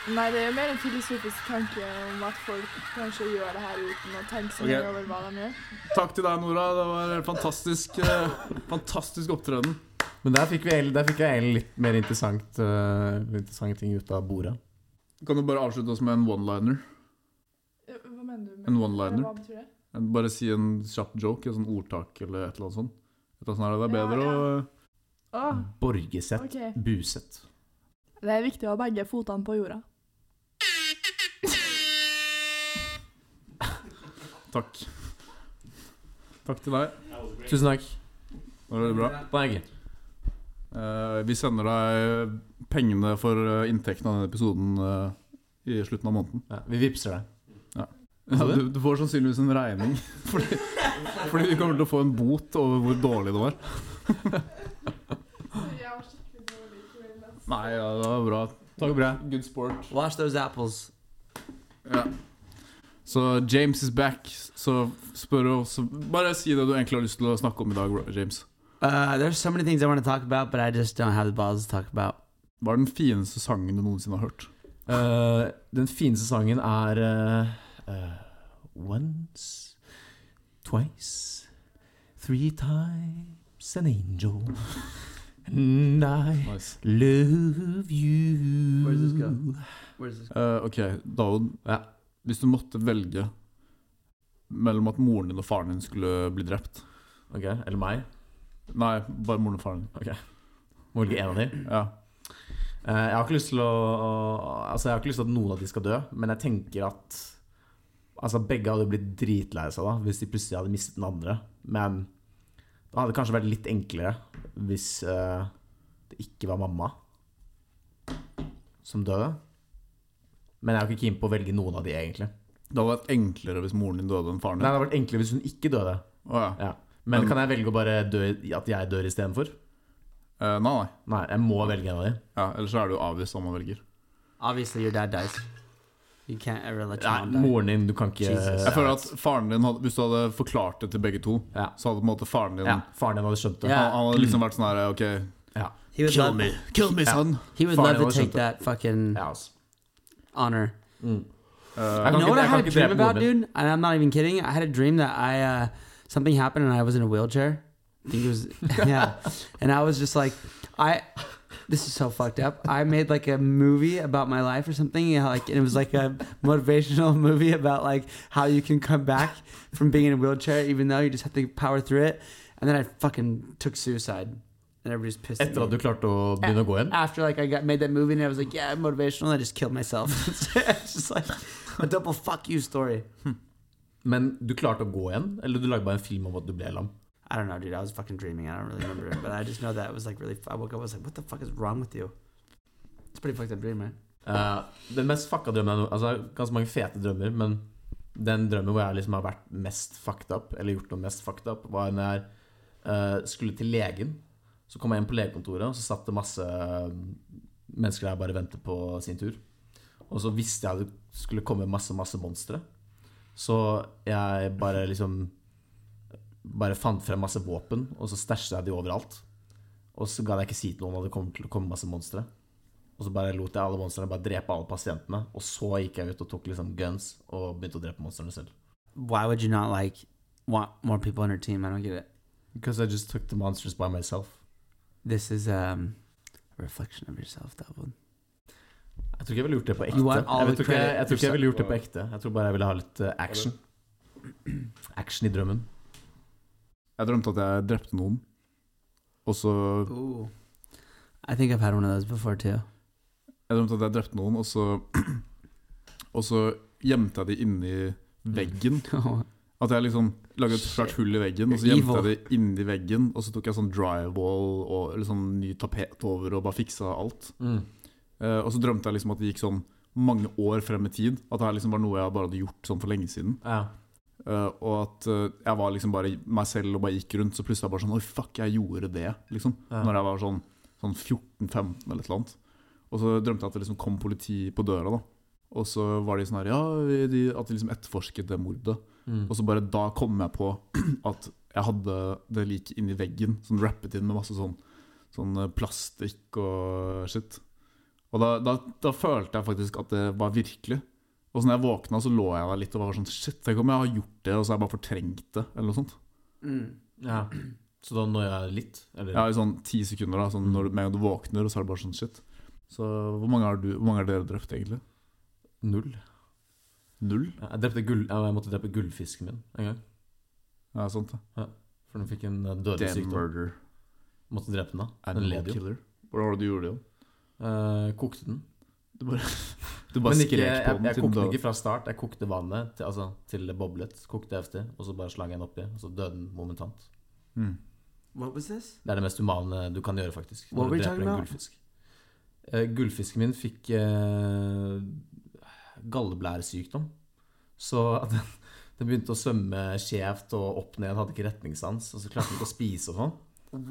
[SPEAKER 7] Nei, det er mer en filosofisk tanke om at folk kanskje gjør det her uten å tenke så mye
[SPEAKER 1] Ok.
[SPEAKER 7] over hva de gjør.
[SPEAKER 1] Takk til deg, Nora. Det var en fantastisk, eh, fantastisk opptreden.
[SPEAKER 3] Men der fikk, vi, egentlig- der fikk jeg egentlig litt mer interessant, eh, interessante ting ut av bordet.
[SPEAKER 1] Kan du bare avslutte oss med en one-liner?
[SPEAKER 7] Eh, Hva mener du? med-
[SPEAKER 1] En one-liner?
[SPEAKER 7] Hva betyr det?
[SPEAKER 1] En- Bare si en kjapp joke, en sånn ordtak eller et eller annet sånt. Et eller annet sånt her, det er bedre
[SPEAKER 7] Ja,
[SPEAKER 1] å
[SPEAKER 7] Åh,
[SPEAKER 3] Borgesett.
[SPEAKER 7] ok.
[SPEAKER 3] Buset.
[SPEAKER 7] Det er viktig å ha begge fotene på jorda.
[SPEAKER 1] Takk. Takk til deg.
[SPEAKER 3] Tusen takk.
[SPEAKER 1] Det var veldig bra.
[SPEAKER 3] Berge.
[SPEAKER 1] Eh, vi sender deg pengene for eh, inntekten av denne episoden eh, i slutten av måneden.
[SPEAKER 3] Ja, vi vipser deg.
[SPEAKER 1] Ja, du, du får sannsynligvis en regning, fordi, fordi vi kommer til å få en bot over hvor dårlig det var.
[SPEAKER 7] altså.
[SPEAKER 1] Nei, ja, det var bra.
[SPEAKER 3] Det går bra.
[SPEAKER 1] Good sport.
[SPEAKER 2] Wash those apples.
[SPEAKER 1] Ja. Så James is back. Så spør oss Bare si det du egentlig har lyst til å snakke om i dag, James.
[SPEAKER 2] Uh, there's so many things I want to talk about, but I just don't have the balls to talk about.
[SPEAKER 1] Hva er den fineste sangen du noensinne har hørt?
[SPEAKER 3] Eh, den fineste sangen er eh, eh, Once, twice, three times an angel. And I
[SPEAKER 1] Nice.
[SPEAKER 3] love you.
[SPEAKER 2] Where does this go? Where's this?
[SPEAKER 1] Eh, ok, David.
[SPEAKER 3] Ja.
[SPEAKER 1] Hvis du måtte velge mellom at moren din og faren din skulle bli drept
[SPEAKER 3] Ok, Eller meg.
[SPEAKER 1] Nei, bare moren og faren din.
[SPEAKER 3] Må velge en av dem.
[SPEAKER 1] Ja.
[SPEAKER 3] Eh, jeg har ikke lyst til å Altså jeg har ikke lyst til at noen av de skal dø, men jeg tenker at Altså Begge hadde blitt dritlei seg da hvis de plutselig hadde mistet den andre. Men det hadde kanskje vært litt enklere hvis eh, det ikke var mamma som døde. Men jeg er jo ikke keen på å velge noen av de, egentlig.
[SPEAKER 1] Det hadde vært enklere hvis moren din døde enn faren
[SPEAKER 3] Nei, Det
[SPEAKER 1] din.
[SPEAKER 3] hadde vært enklere hvis hun ikke døde.
[SPEAKER 1] Å, ja.
[SPEAKER 3] Ja. Men kan jeg velge å bare dø, i- at jeg dør istedenfor?
[SPEAKER 1] Eh, nei, nei.
[SPEAKER 3] Nei, jeg må velge en av de.
[SPEAKER 1] Ja, ellers så er det jo avvist hva man velger.
[SPEAKER 2] Obviously, your dad dies. You can't ever let your mom
[SPEAKER 3] Nei,
[SPEAKER 2] die.
[SPEAKER 3] moren din, du kan ikke
[SPEAKER 2] Jesus.
[SPEAKER 1] Jeg føler at faren din hadde, Hvis du hadde forklart det til begge to,
[SPEAKER 3] Ja.
[SPEAKER 1] så hadde på en måte faren din
[SPEAKER 3] ja, Faren din hadde skjønt det.
[SPEAKER 2] Ja.
[SPEAKER 1] han, han hadde liksom vært sånn her OK,
[SPEAKER 2] He would
[SPEAKER 1] kill
[SPEAKER 2] love,
[SPEAKER 1] me. Kill me, son.
[SPEAKER 2] He would
[SPEAKER 3] Fine,
[SPEAKER 2] love
[SPEAKER 3] I
[SPEAKER 2] to
[SPEAKER 3] was
[SPEAKER 2] take
[SPEAKER 3] something.
[SPEAKER 2] that fucking
[SPEAKER 3] Ja, altså.
[SPEAKER 2] honor.
[SPEAKER 1] Eh,
[SPEAKER 3] Jeg
[SPEAKER 2] You
[SPEAKER 3] kan
[SPEAKER 2] know
[SPEAKER 3] ikke-
[SPEAKER 2] what I
[SPEAKER 3] jeg kan
[SPEAKER 2] had a
[SPEAKER 3] ikke
[SPEAKER 2] dream
[SPEAKER 3] drepe
[SPEAKER 2] about,
[SPEAKER 3] moren min.
[SPEAKER 2] dude? And I'm not even kidding. I had a dream that I uh, something happened and I was in a wheelchair. I think it was yeah, and I was just like, I. This is so fucked up. I made like a movie about my life or something. You know, like and it was like a motivational movie about like how you can come back from being in a wheelchair, even though you just have to power through it. And then I fucking took suicide, and everybody's pissed. at
[SPEAKER 3] Etter at
[SPEAKER 2] me.
[SPEAKER 3] du klarte å begynne å gå igjen?
[SPEAKER 2] After like I got made that movie and I was like, yeah, motivational. And I just killed myself. it's just like a double fuck you story.
[SPEAKER 3] Men du klarte å gå igjen? Eller du lagde bare en film om at du ble lam?
[SPEAKER 2] I don't know, dude. I was fucking dreaming. I don't really remember it, but I just know that it was like really. I woke up. I was like, "What the fuck is wrong with you?" It's a pretty fucked up dream, right?
[SPEAKER 3] Eh, den mest fucka drømmen jeg no- Altså, jeg har ganske mange fete drømmer, men den drømmen hvor jeg liksom har vært mest fucked up, eller gjort noe mest fucked up, var når jeg eh, skulle til legen. Så kom jeg inn på legekontoret, og så satt det masse eh, mennesker der og bare ventet på sin tur. Og så visste jeg det skulle komme masse, masse monstre. Så jeg bare liksom Bare fant frem masse våpen, og så stæsja jeg de overalt. Og så ga jeg ikke si til noen at det kom til å komme masse monstre. Og så bare lot jeg alle monstrene bare drepe alle pasientene. Og så gikk jeg ut og tok liksom guns og begynte å drepe monstrene selv.
[SPEAKER 2] Why would you not like want more people on your team? I don't get it.
[SPEAKER 3] Because I just took the monsters by myself.
[SPEAKER 2] This is um, a reflection of yourself, that one.
[SPEAKER 3] Jeg tror ikke jeg ville gjort det på ekte.
[SPEAKER 2] You want all
[SPEAKER 3] Jeg, vet
[SPEAKER 2] the
[SPEAKER 3] ikke, jeg,
[SPEAKER 2] credit.
[SPEAKER 3] jeg tror ikke jeg ville gjort det på ekte Jeg tror bare jeg ville ha litt eh, action. Action i drømmen.
[SPEAKER 1] Jeg drømte at jeg drepte noen, og så
[SPEAKER 2] Ooh. I think I've had one of those before too.
[SPEAKER 1] Jeg drømte at jeg drepte noen, og så Og så gjemte jeg de inni veggen. At jeg liksom lagde et svært hull i veggen, og så gjemte jeg det inni veggen. Og så tok jeg sånn drywall og eller sånn ny tapet over og bare fiksa alt. Eh, og så drømte jeg liksom at det gikk sånn mange år frem i tid. At det her liksom var noe jeg bare hadde gjort sånn for lenge siden.
[SPEAKER 3] Ja.
[SPEAKER 1] Eh, og at eh, jeg var liksom bare meg selv og bare gikk rundt. Så plutselig er jeg bare sånn Oi, fuck, jeg gjorde det, liksom.
[SPEAKER 3] Ja.
[SPEAKER 1] Når jeg var sånn, sånn 14-15 eller et eller annet. Og så drømte jeg at det liksom kom politi på døra, da. Og så var de sånn her Ja, vi- de, at de liksom etterforsket det mordet.
[SPEAKER 3] Mm.
[SPEAKER 1] Og så bare da kom jeg på at jeg hadde det like inni veggen, sånn rappet inn med masse sånn, sånn eh, plastikk og shit. Og da, da, da følte jeg faktisk at det var virkelig. Og så når jeg våkna, så lå jeg der litt og var sånn Shit, tenk om jeg har gjort det, og så har jeg bare fortrengt det, eller noe sånt.
[SPEAKER 2] Mm.
[SPEAKER 3] Ja. Så da når jeg litt? Eller?
[SPEAKER 1] Jeg har jo sånn ti sekunder, da, sånn når du, med en gang du våkner, og så er det bare sånn shit. Så hvor mange har, du, hvor mange har dere drept, egentlig?
[SPEAKER 3] Null.
[SPEAKER 1] Null?
[SPEAKER 3] Jeg, drepte gull, ja, jeg måtte drepe gullfisken min en gang.
[SPEAKER 1] Ja, sant det.
[SPEAKER 3] For den fikk en eh, dødelig
[SPEAKER 1] Damn
[SPEAKER 3] sykdom.
[SPEAKER 1] murder.
[SPEAKER 3] Måtte drepe den da. Den
[SPEAKER 1] Animal
[SPEAKER 3] led jo.
[SPEAKER 1] killer. Hvordan var det du gjorde det? da?
[SPEAKER 3] Eh, kokte den.
[SPEAKER 1] Du bare
[SPEAKER 3] Men ikke,
[SPEAKER 1] skrek
[SPEAKER 3] jeg,
[SPEAKER 1] på den
[SPEAKER 3] jeg
[SPEAKER 1] til den
[SPEAKER 3] kokte den
[SPEAKER 1] døde.
[SPEAKER 3] ikke fra start. Jeg kokte vannet til, altså, til det boblet. Kokte jeg efter, og så bare slang jeg den oppi, og så døde den momentant.
[SPEAKER 1] Mm.
[SPEAKER 2] What was this?
[SPEAKER 3] Det er det mest humane du kan gjøre, faktisk.
[SPEAKER 2] What
[SPEAKER 3] når
[SPEAKER 2] were you
[SPEAKER 3] du dreper
[SPEAKER 2] talking
[SPEAKER 3] en
[SPEAKER 2] about?
[SPEAKER 3] gullfisk. Eh, gullfisken min fikk eh, galleblæresykdom. Så at den, den begynte å svømme skjevt og opp ned, hadde ikke retningssans. Og så klarte den ikke å spise og sånn.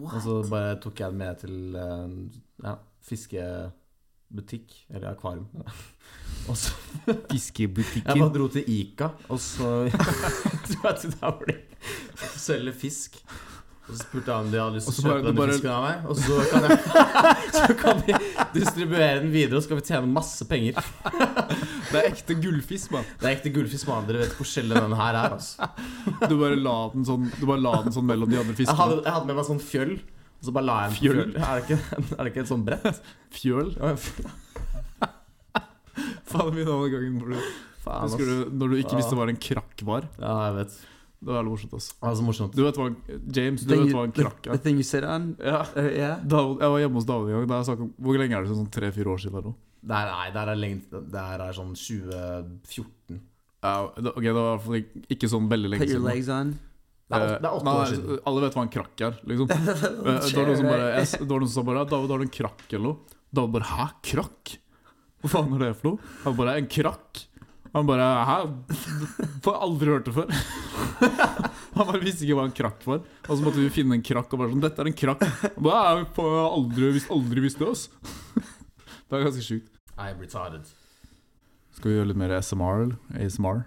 [SPEAKER 3] Og så bare tok jeg den med til eh, ja, fiskebutikk, eller akvarium. Og så jeg bare
[SPEAKER 8] Fiskebutikken.
[SPEAKER 3] dro til Ica, og så dro jeg til der hvor de selger fisk. Og så spurte jeg om de hadde lyst
[SPEAKER 1] Og så
[SPEAKER 3] til å
[SPEAKER 1] bare-
[SPEAKER 3] kjøpe denne
[SPEAKER 1] bare-
[SPEAKER 3] fisken av meg. Og så kan, jeg, så kan vi distribuere den videre, og så kan vi tjene masse penger.
[SPEAKER 1] Det er ekte gullfisk, mann.
[SPEAKER 3] Det er ekte gullfisk, mann. Dere vet hvor sjelden den her er. Altså.
[SPEAKER 1] Du bare la den sånn, du bare la den sånn mellom de andre
[SPEAKER 3] Jeg, hadde,
[SPEAKER 1] fiskene.
[SPEAKER 3] jeg hadde med meg sånn fjøll, og så bare la jeg den på
[SPEAKER 1] Fjøll?
[SPEAKER 3] fjøl. Er det ikke, er det ikke et sånt brett?
[SPEAKER 1] Fjøl.
[SPEAKER 3] Ja, f-
[SPEAKER 1] Faen min andre gangen hvor du
[SPEAKER 3] Faen,
[SPEAKER 1] Husker
[SPEAKER 3] ass.
[SPEAKER 1] du når du ikke
[SPEAKER 3] Ja.
[SPEAKER 1] visste hva en krakk var?
[SPEAKER 3] Ja, jeg vet.
[SPEAKER 1] Det var jævlig morsomt, ass.
[SPEAKER 3] Det var så morsomt.
[SPEAKER 1] Du vet hva James, du
[SPEAKER 2] Thing
[SPEAKER 1] vet
[SPEAKER 2] you-
[SPEAKER 1] hva en
[SPEAKER 2] the-
[SPEAKER 1] krakk
[SPEAKER 2] The
[SPEAKER 1] er?
[SPEAKER 2] thing you sit on?
[SPEAKER 1] Ja.
[SPEAKER 2] Uh, yeah.
[SPEAKER 1] David, jeg var hjemme hos David en gang. Da jeg snakket om, hvor lenge er det siden? Sånn tre-fire år siden? Eller noe?
[SPEAKER 3] Der, nei, der er lenge, der er sånn 2014.
[SPEAKER 1] Ja, det, ok, det var i hvert fall ikke- ikke sånn veldig lenge
[SPEAKER 2] Put your
[SPEAKER 1] siden.
[SPEAKER 2] legs on.
[SPEAKER 3] Det er åtte, det er
[SPEAKER 1] Eh,
[SPEAKER 3] åtte år
[SPEAKER 1] Nei, altså,
[SPEAKER 3] siden.
[SPEAKER 1] Alle vet hva en krakk er, liksom. Eh, Det var
[SPEAKER 2] Chair,
[SPEAKER 1] noen som bare,
[SPEAKER 2] right?
[SPEAKER 1] jeg, det var noen som sa bare «Ja, 'David, har du en krakk?' eller noe? David bare 'hæ, krakk?' Hva faen er det for noe? Han bare 'en krakk'. Han bare 'hæ, får jeg aldri hørt det før'. Han bare visste ikke hva en krakk var. Og så måtte vi finne en krakk og bare sånn 'dette er en krakk'. Han bare, «Ja, jeg får aldri, visst- aldri visst det, ass. Det er ganske sjukt.
[SPEAKER 3] I'm retarded.
[SPEAKER 1] Skal vi gjøre litt mer SMR, eller? ASMR?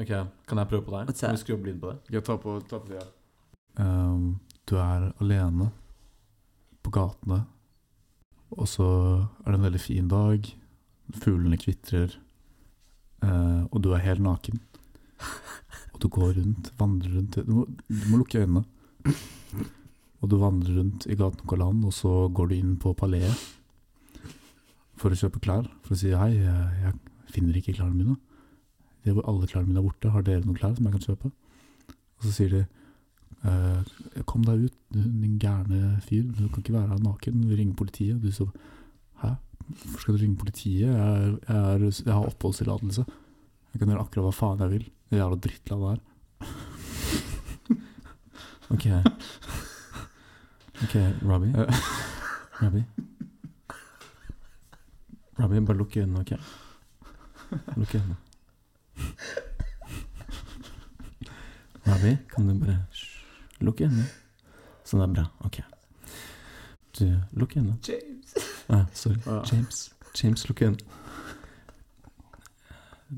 [SPEAKER 3] Ok, Kan jeg prøve på deg?
[SPEAKER 2] What's
[SPEAKER 3] Kan
[SPEAKER 2] that?
[SPEAKER 3] vi skru opp lyden på det?
[SPEAKER 1] Skal jeg ta på, ta på det, ja. Ehm, du er alene på gatene, og så er det en veldig fin dag. Fuglene kvitrer, eh, og du er helt naken. Og du går rundt, vandrer rundt Du må, du må lukke øynene. Og du vandrer rundt i gaten Kolan, og så går du inn på paleet for å kjøpe klær. For å si 'hei, jeg jeg finner ikke klærne mine'. De er- Alle klærne mine er borte. Har dere noen klær som jeg kan kjøpe? Og så sier de eh, Kom deg ut, du- din gærne fyr. Du kan ikke være her naken. Vi ringer politiet. Og du så Hæ? Hvorfor skal du ringe politiet? Jeg, er, jeg, er, jeg har oppholdstillatelse. Jeg kan gjøre akkurat hva faen jeg vil. Det jævla drittlandet her.
[SPEAKER 3] Ok. Ok, Robbie.
[SPEAKER 1] Eh.
[SPEAKER 3] Robbie. Robbie, bare lukk øynene, ok? Lukk øynene. Robbie, kan du bare Hysj. Lukk øynene? Sånn er bra. Ok. Du, lukk øynene. James. Ah, sorry. James. James, lukk øynene.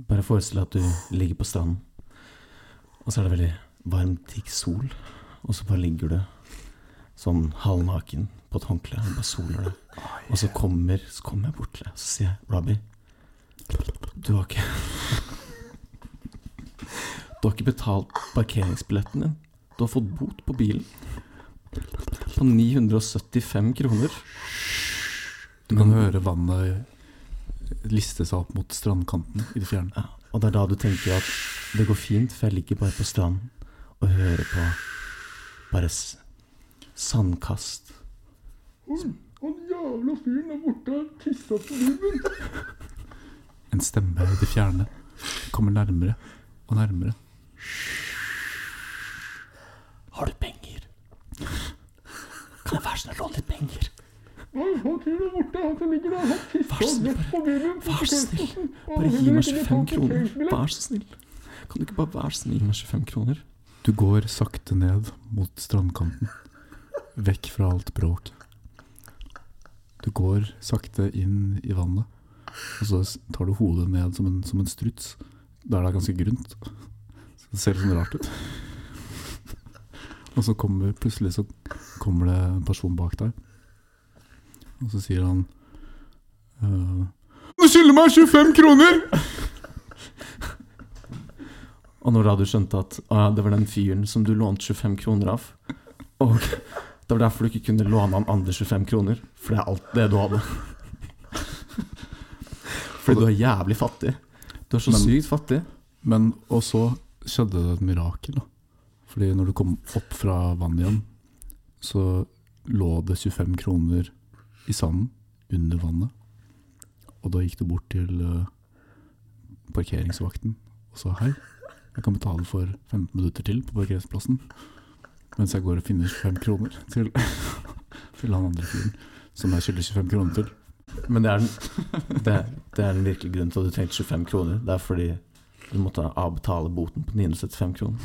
[SPEAKER 3] Bare forestill deg at du ligger på stranden, og så er det veldig varm, digg sol. Og så bare ligger du sånn halvnaken på et håndkle og bare soler deg. Og så kommer, så kommer jeg bort til deg og så sier jeg, Robbie, du har ikke Du har ikke betalt parkeringsbilletten din. Du har fått bot på bilen. på 975 kroner.
[SPEAKER 1] Du kan høre vannet liste seg opp mot strandkanten i det fjerne.
[SPEAKER 3] Ja, og det er da du tenker at det går fint, for jeg ligger bare på stranden og hører på bare s- sandkast.
[SPEAKER 1] En stemme i det fjerne kommer nærmere og nærmere.
[SPEAKER 3] Har du penger? Kan jeg være så snill å låne litt penger? Vær så snill, bare. Vær så snill. Bare gi meg 25 kroner. Vær så snill. Kan du ikke bare være så snill gi meg 25 kroner?
[SPEAKER 1] Du går sakte ned mot strandkanten, vekk fra alt bråket. Du går sakte inn i vannet, og så tar du hodet ned som en, som en struts. Der det er ganske grunt. Så det ser litt sånn rart ut. Og så kommer plutselig så kommer det en person bak deg, og så sier han eh, Du skylder meg 25 kroner!
[SPEAKER 3] Og når da du skjønte at å, ja, det var den fyren som du lånte 25 kroner av Og det var derfor du ikke kunne låne han andre 25 kroner, for det er alt det du hadde. Fordi du er jævlig fattig. Du er så
[SPEAKER 1] Men-
[SPEAKER 3] sykt fattig.
[SPEAKER 1] Men, og så skjedde det et mirakel. Da. Fordi når du kom opp fra vannet igjen, så lå det 25 kroner i sanden under vannet. Og da gikk du bort til eh, parkeringsvakten og sa hei, jeg kan betale for 15 minutter til på parkeringsplassen. Mens jeg går og finner 25 kroner til, til han andre fyren som jeg skylder 25 kroner til.
[SPEAKER 3] Men det er, den, det, det er den virkelige grunnen til at du trengte 25 kroner. Det er fordi du måtte avbetale boten på 975 kroner.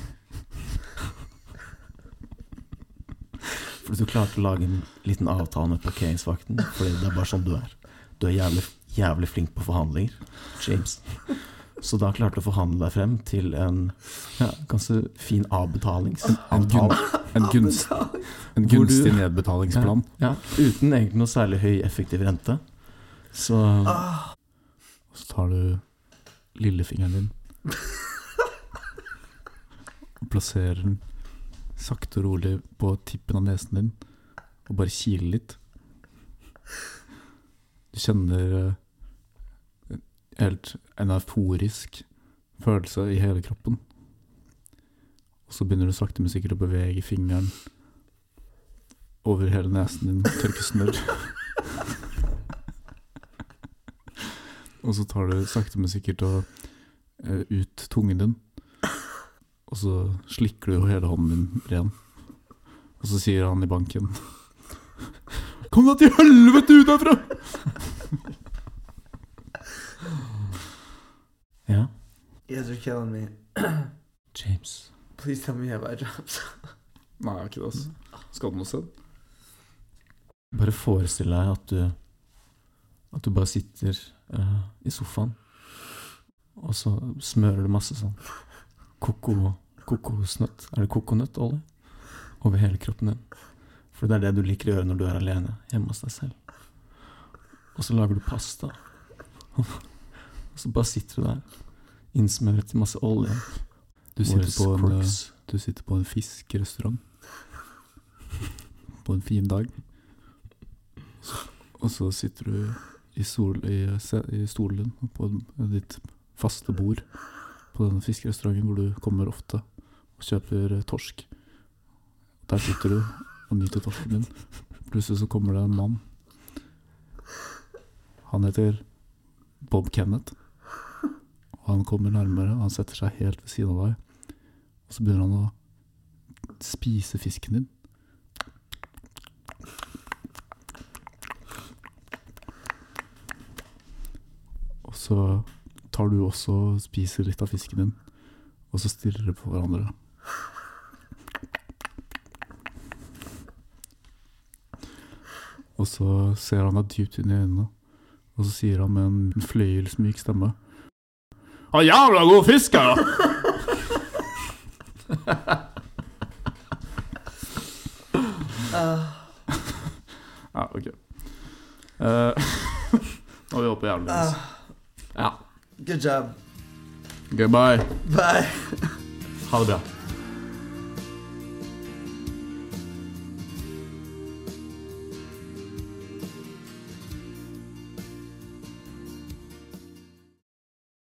[SPEAKER 3] Fordi du klarte å lage en liten avtale med parkeringsvakten. Fordi det er bare sånn du er. Du er jævlig, jævlig flink på forhandlinger, James. Så da klarte du å forhandle deg frem til en ja, ganske fin avbetalings...
[SPEAKER 1] En, gun, en, gunst, en
[SPEAKER 3] Hvor du-
[SPEAKER 1] gunstig nedbetalingsplan.
[SPEAKER 3] Ja, uten egentlig noe særlig høy effektiv rente. Så
[SPEAKER 1] Og så tar du lillefingeren din og plasserer den sakte og rolig på tippen av nesen din og bare kiler litt. Du kjenner eh, helt en euforisk følelse i hele kroppen. Og så begynner du sakte, men sikkert å bevege fingeren over hele nesen din, tørke snørr. Og så tar du sakte, men sikkert og, eh, ut tungen din. Og så slikker du jo hele hånden din ren. Og så sier han i banken Kom deg til helvete ut herfra!
[SPEAKER 3] ja.
[SPEAKER 2] You guys are killing me.
[SPEAKER 3] James.
[SPEAKER 2] Please tell me about drops.
[SPEAKER 1] Nei, jeg er ikke det, altså. Skal du noe sted?
[SPEAKER 3] Bare forestill deg at du At du bare sitter eh, i sofaen, og så smører du masse sånn koko, kokosnøtt Er det kokonøttolje? Over hele kroppen din. For det er det du liker å gjøre når du er alene hjemme hos deg selv. Og så lager du pasta. Og så bare sitter du der, innsmøret i masse olje.
[SPEAKER 1] Du sitter,
[SPEAKER 3] Morris
[SPEAKER 1] på en, eh,
[SPEAKER 3] Crooks.
[SPEAKER 1] du sitter på en fiskerestaurant. På en fin dag. Og så sitter du i, sol, i, se- i stolen din på ditt faste bord på denne fiskerestauranten hvor du kommer ofte og kjøper eh, torsk. Der sitter du og nyter torsken din. Plutselig så kommer det en mann. Han heter Bob Kenneth. Og han kommer nærmere, og han setter seg helt ved siden av deg. Og så begynner han å spise fisken din. Og så tar du også og spiser litt av fisken din, og så stirrer dere på hverandre. Og så ser han deg dypt inn i øynene, og så sier han med en fløyelsmyk stemme
[SPEAKER 9] Har jævla god fisk her, da!
[SPEAKER 1] Ja, Ah, ok. Eh, Nå er vi oppe i jævlig. altså.
[SPEAKER 2] Ah. Good job.
[SPEAKER 1] Goodbye.
[SPEAKER 2] Bye.
[SPEAKER 3] Ha det bra.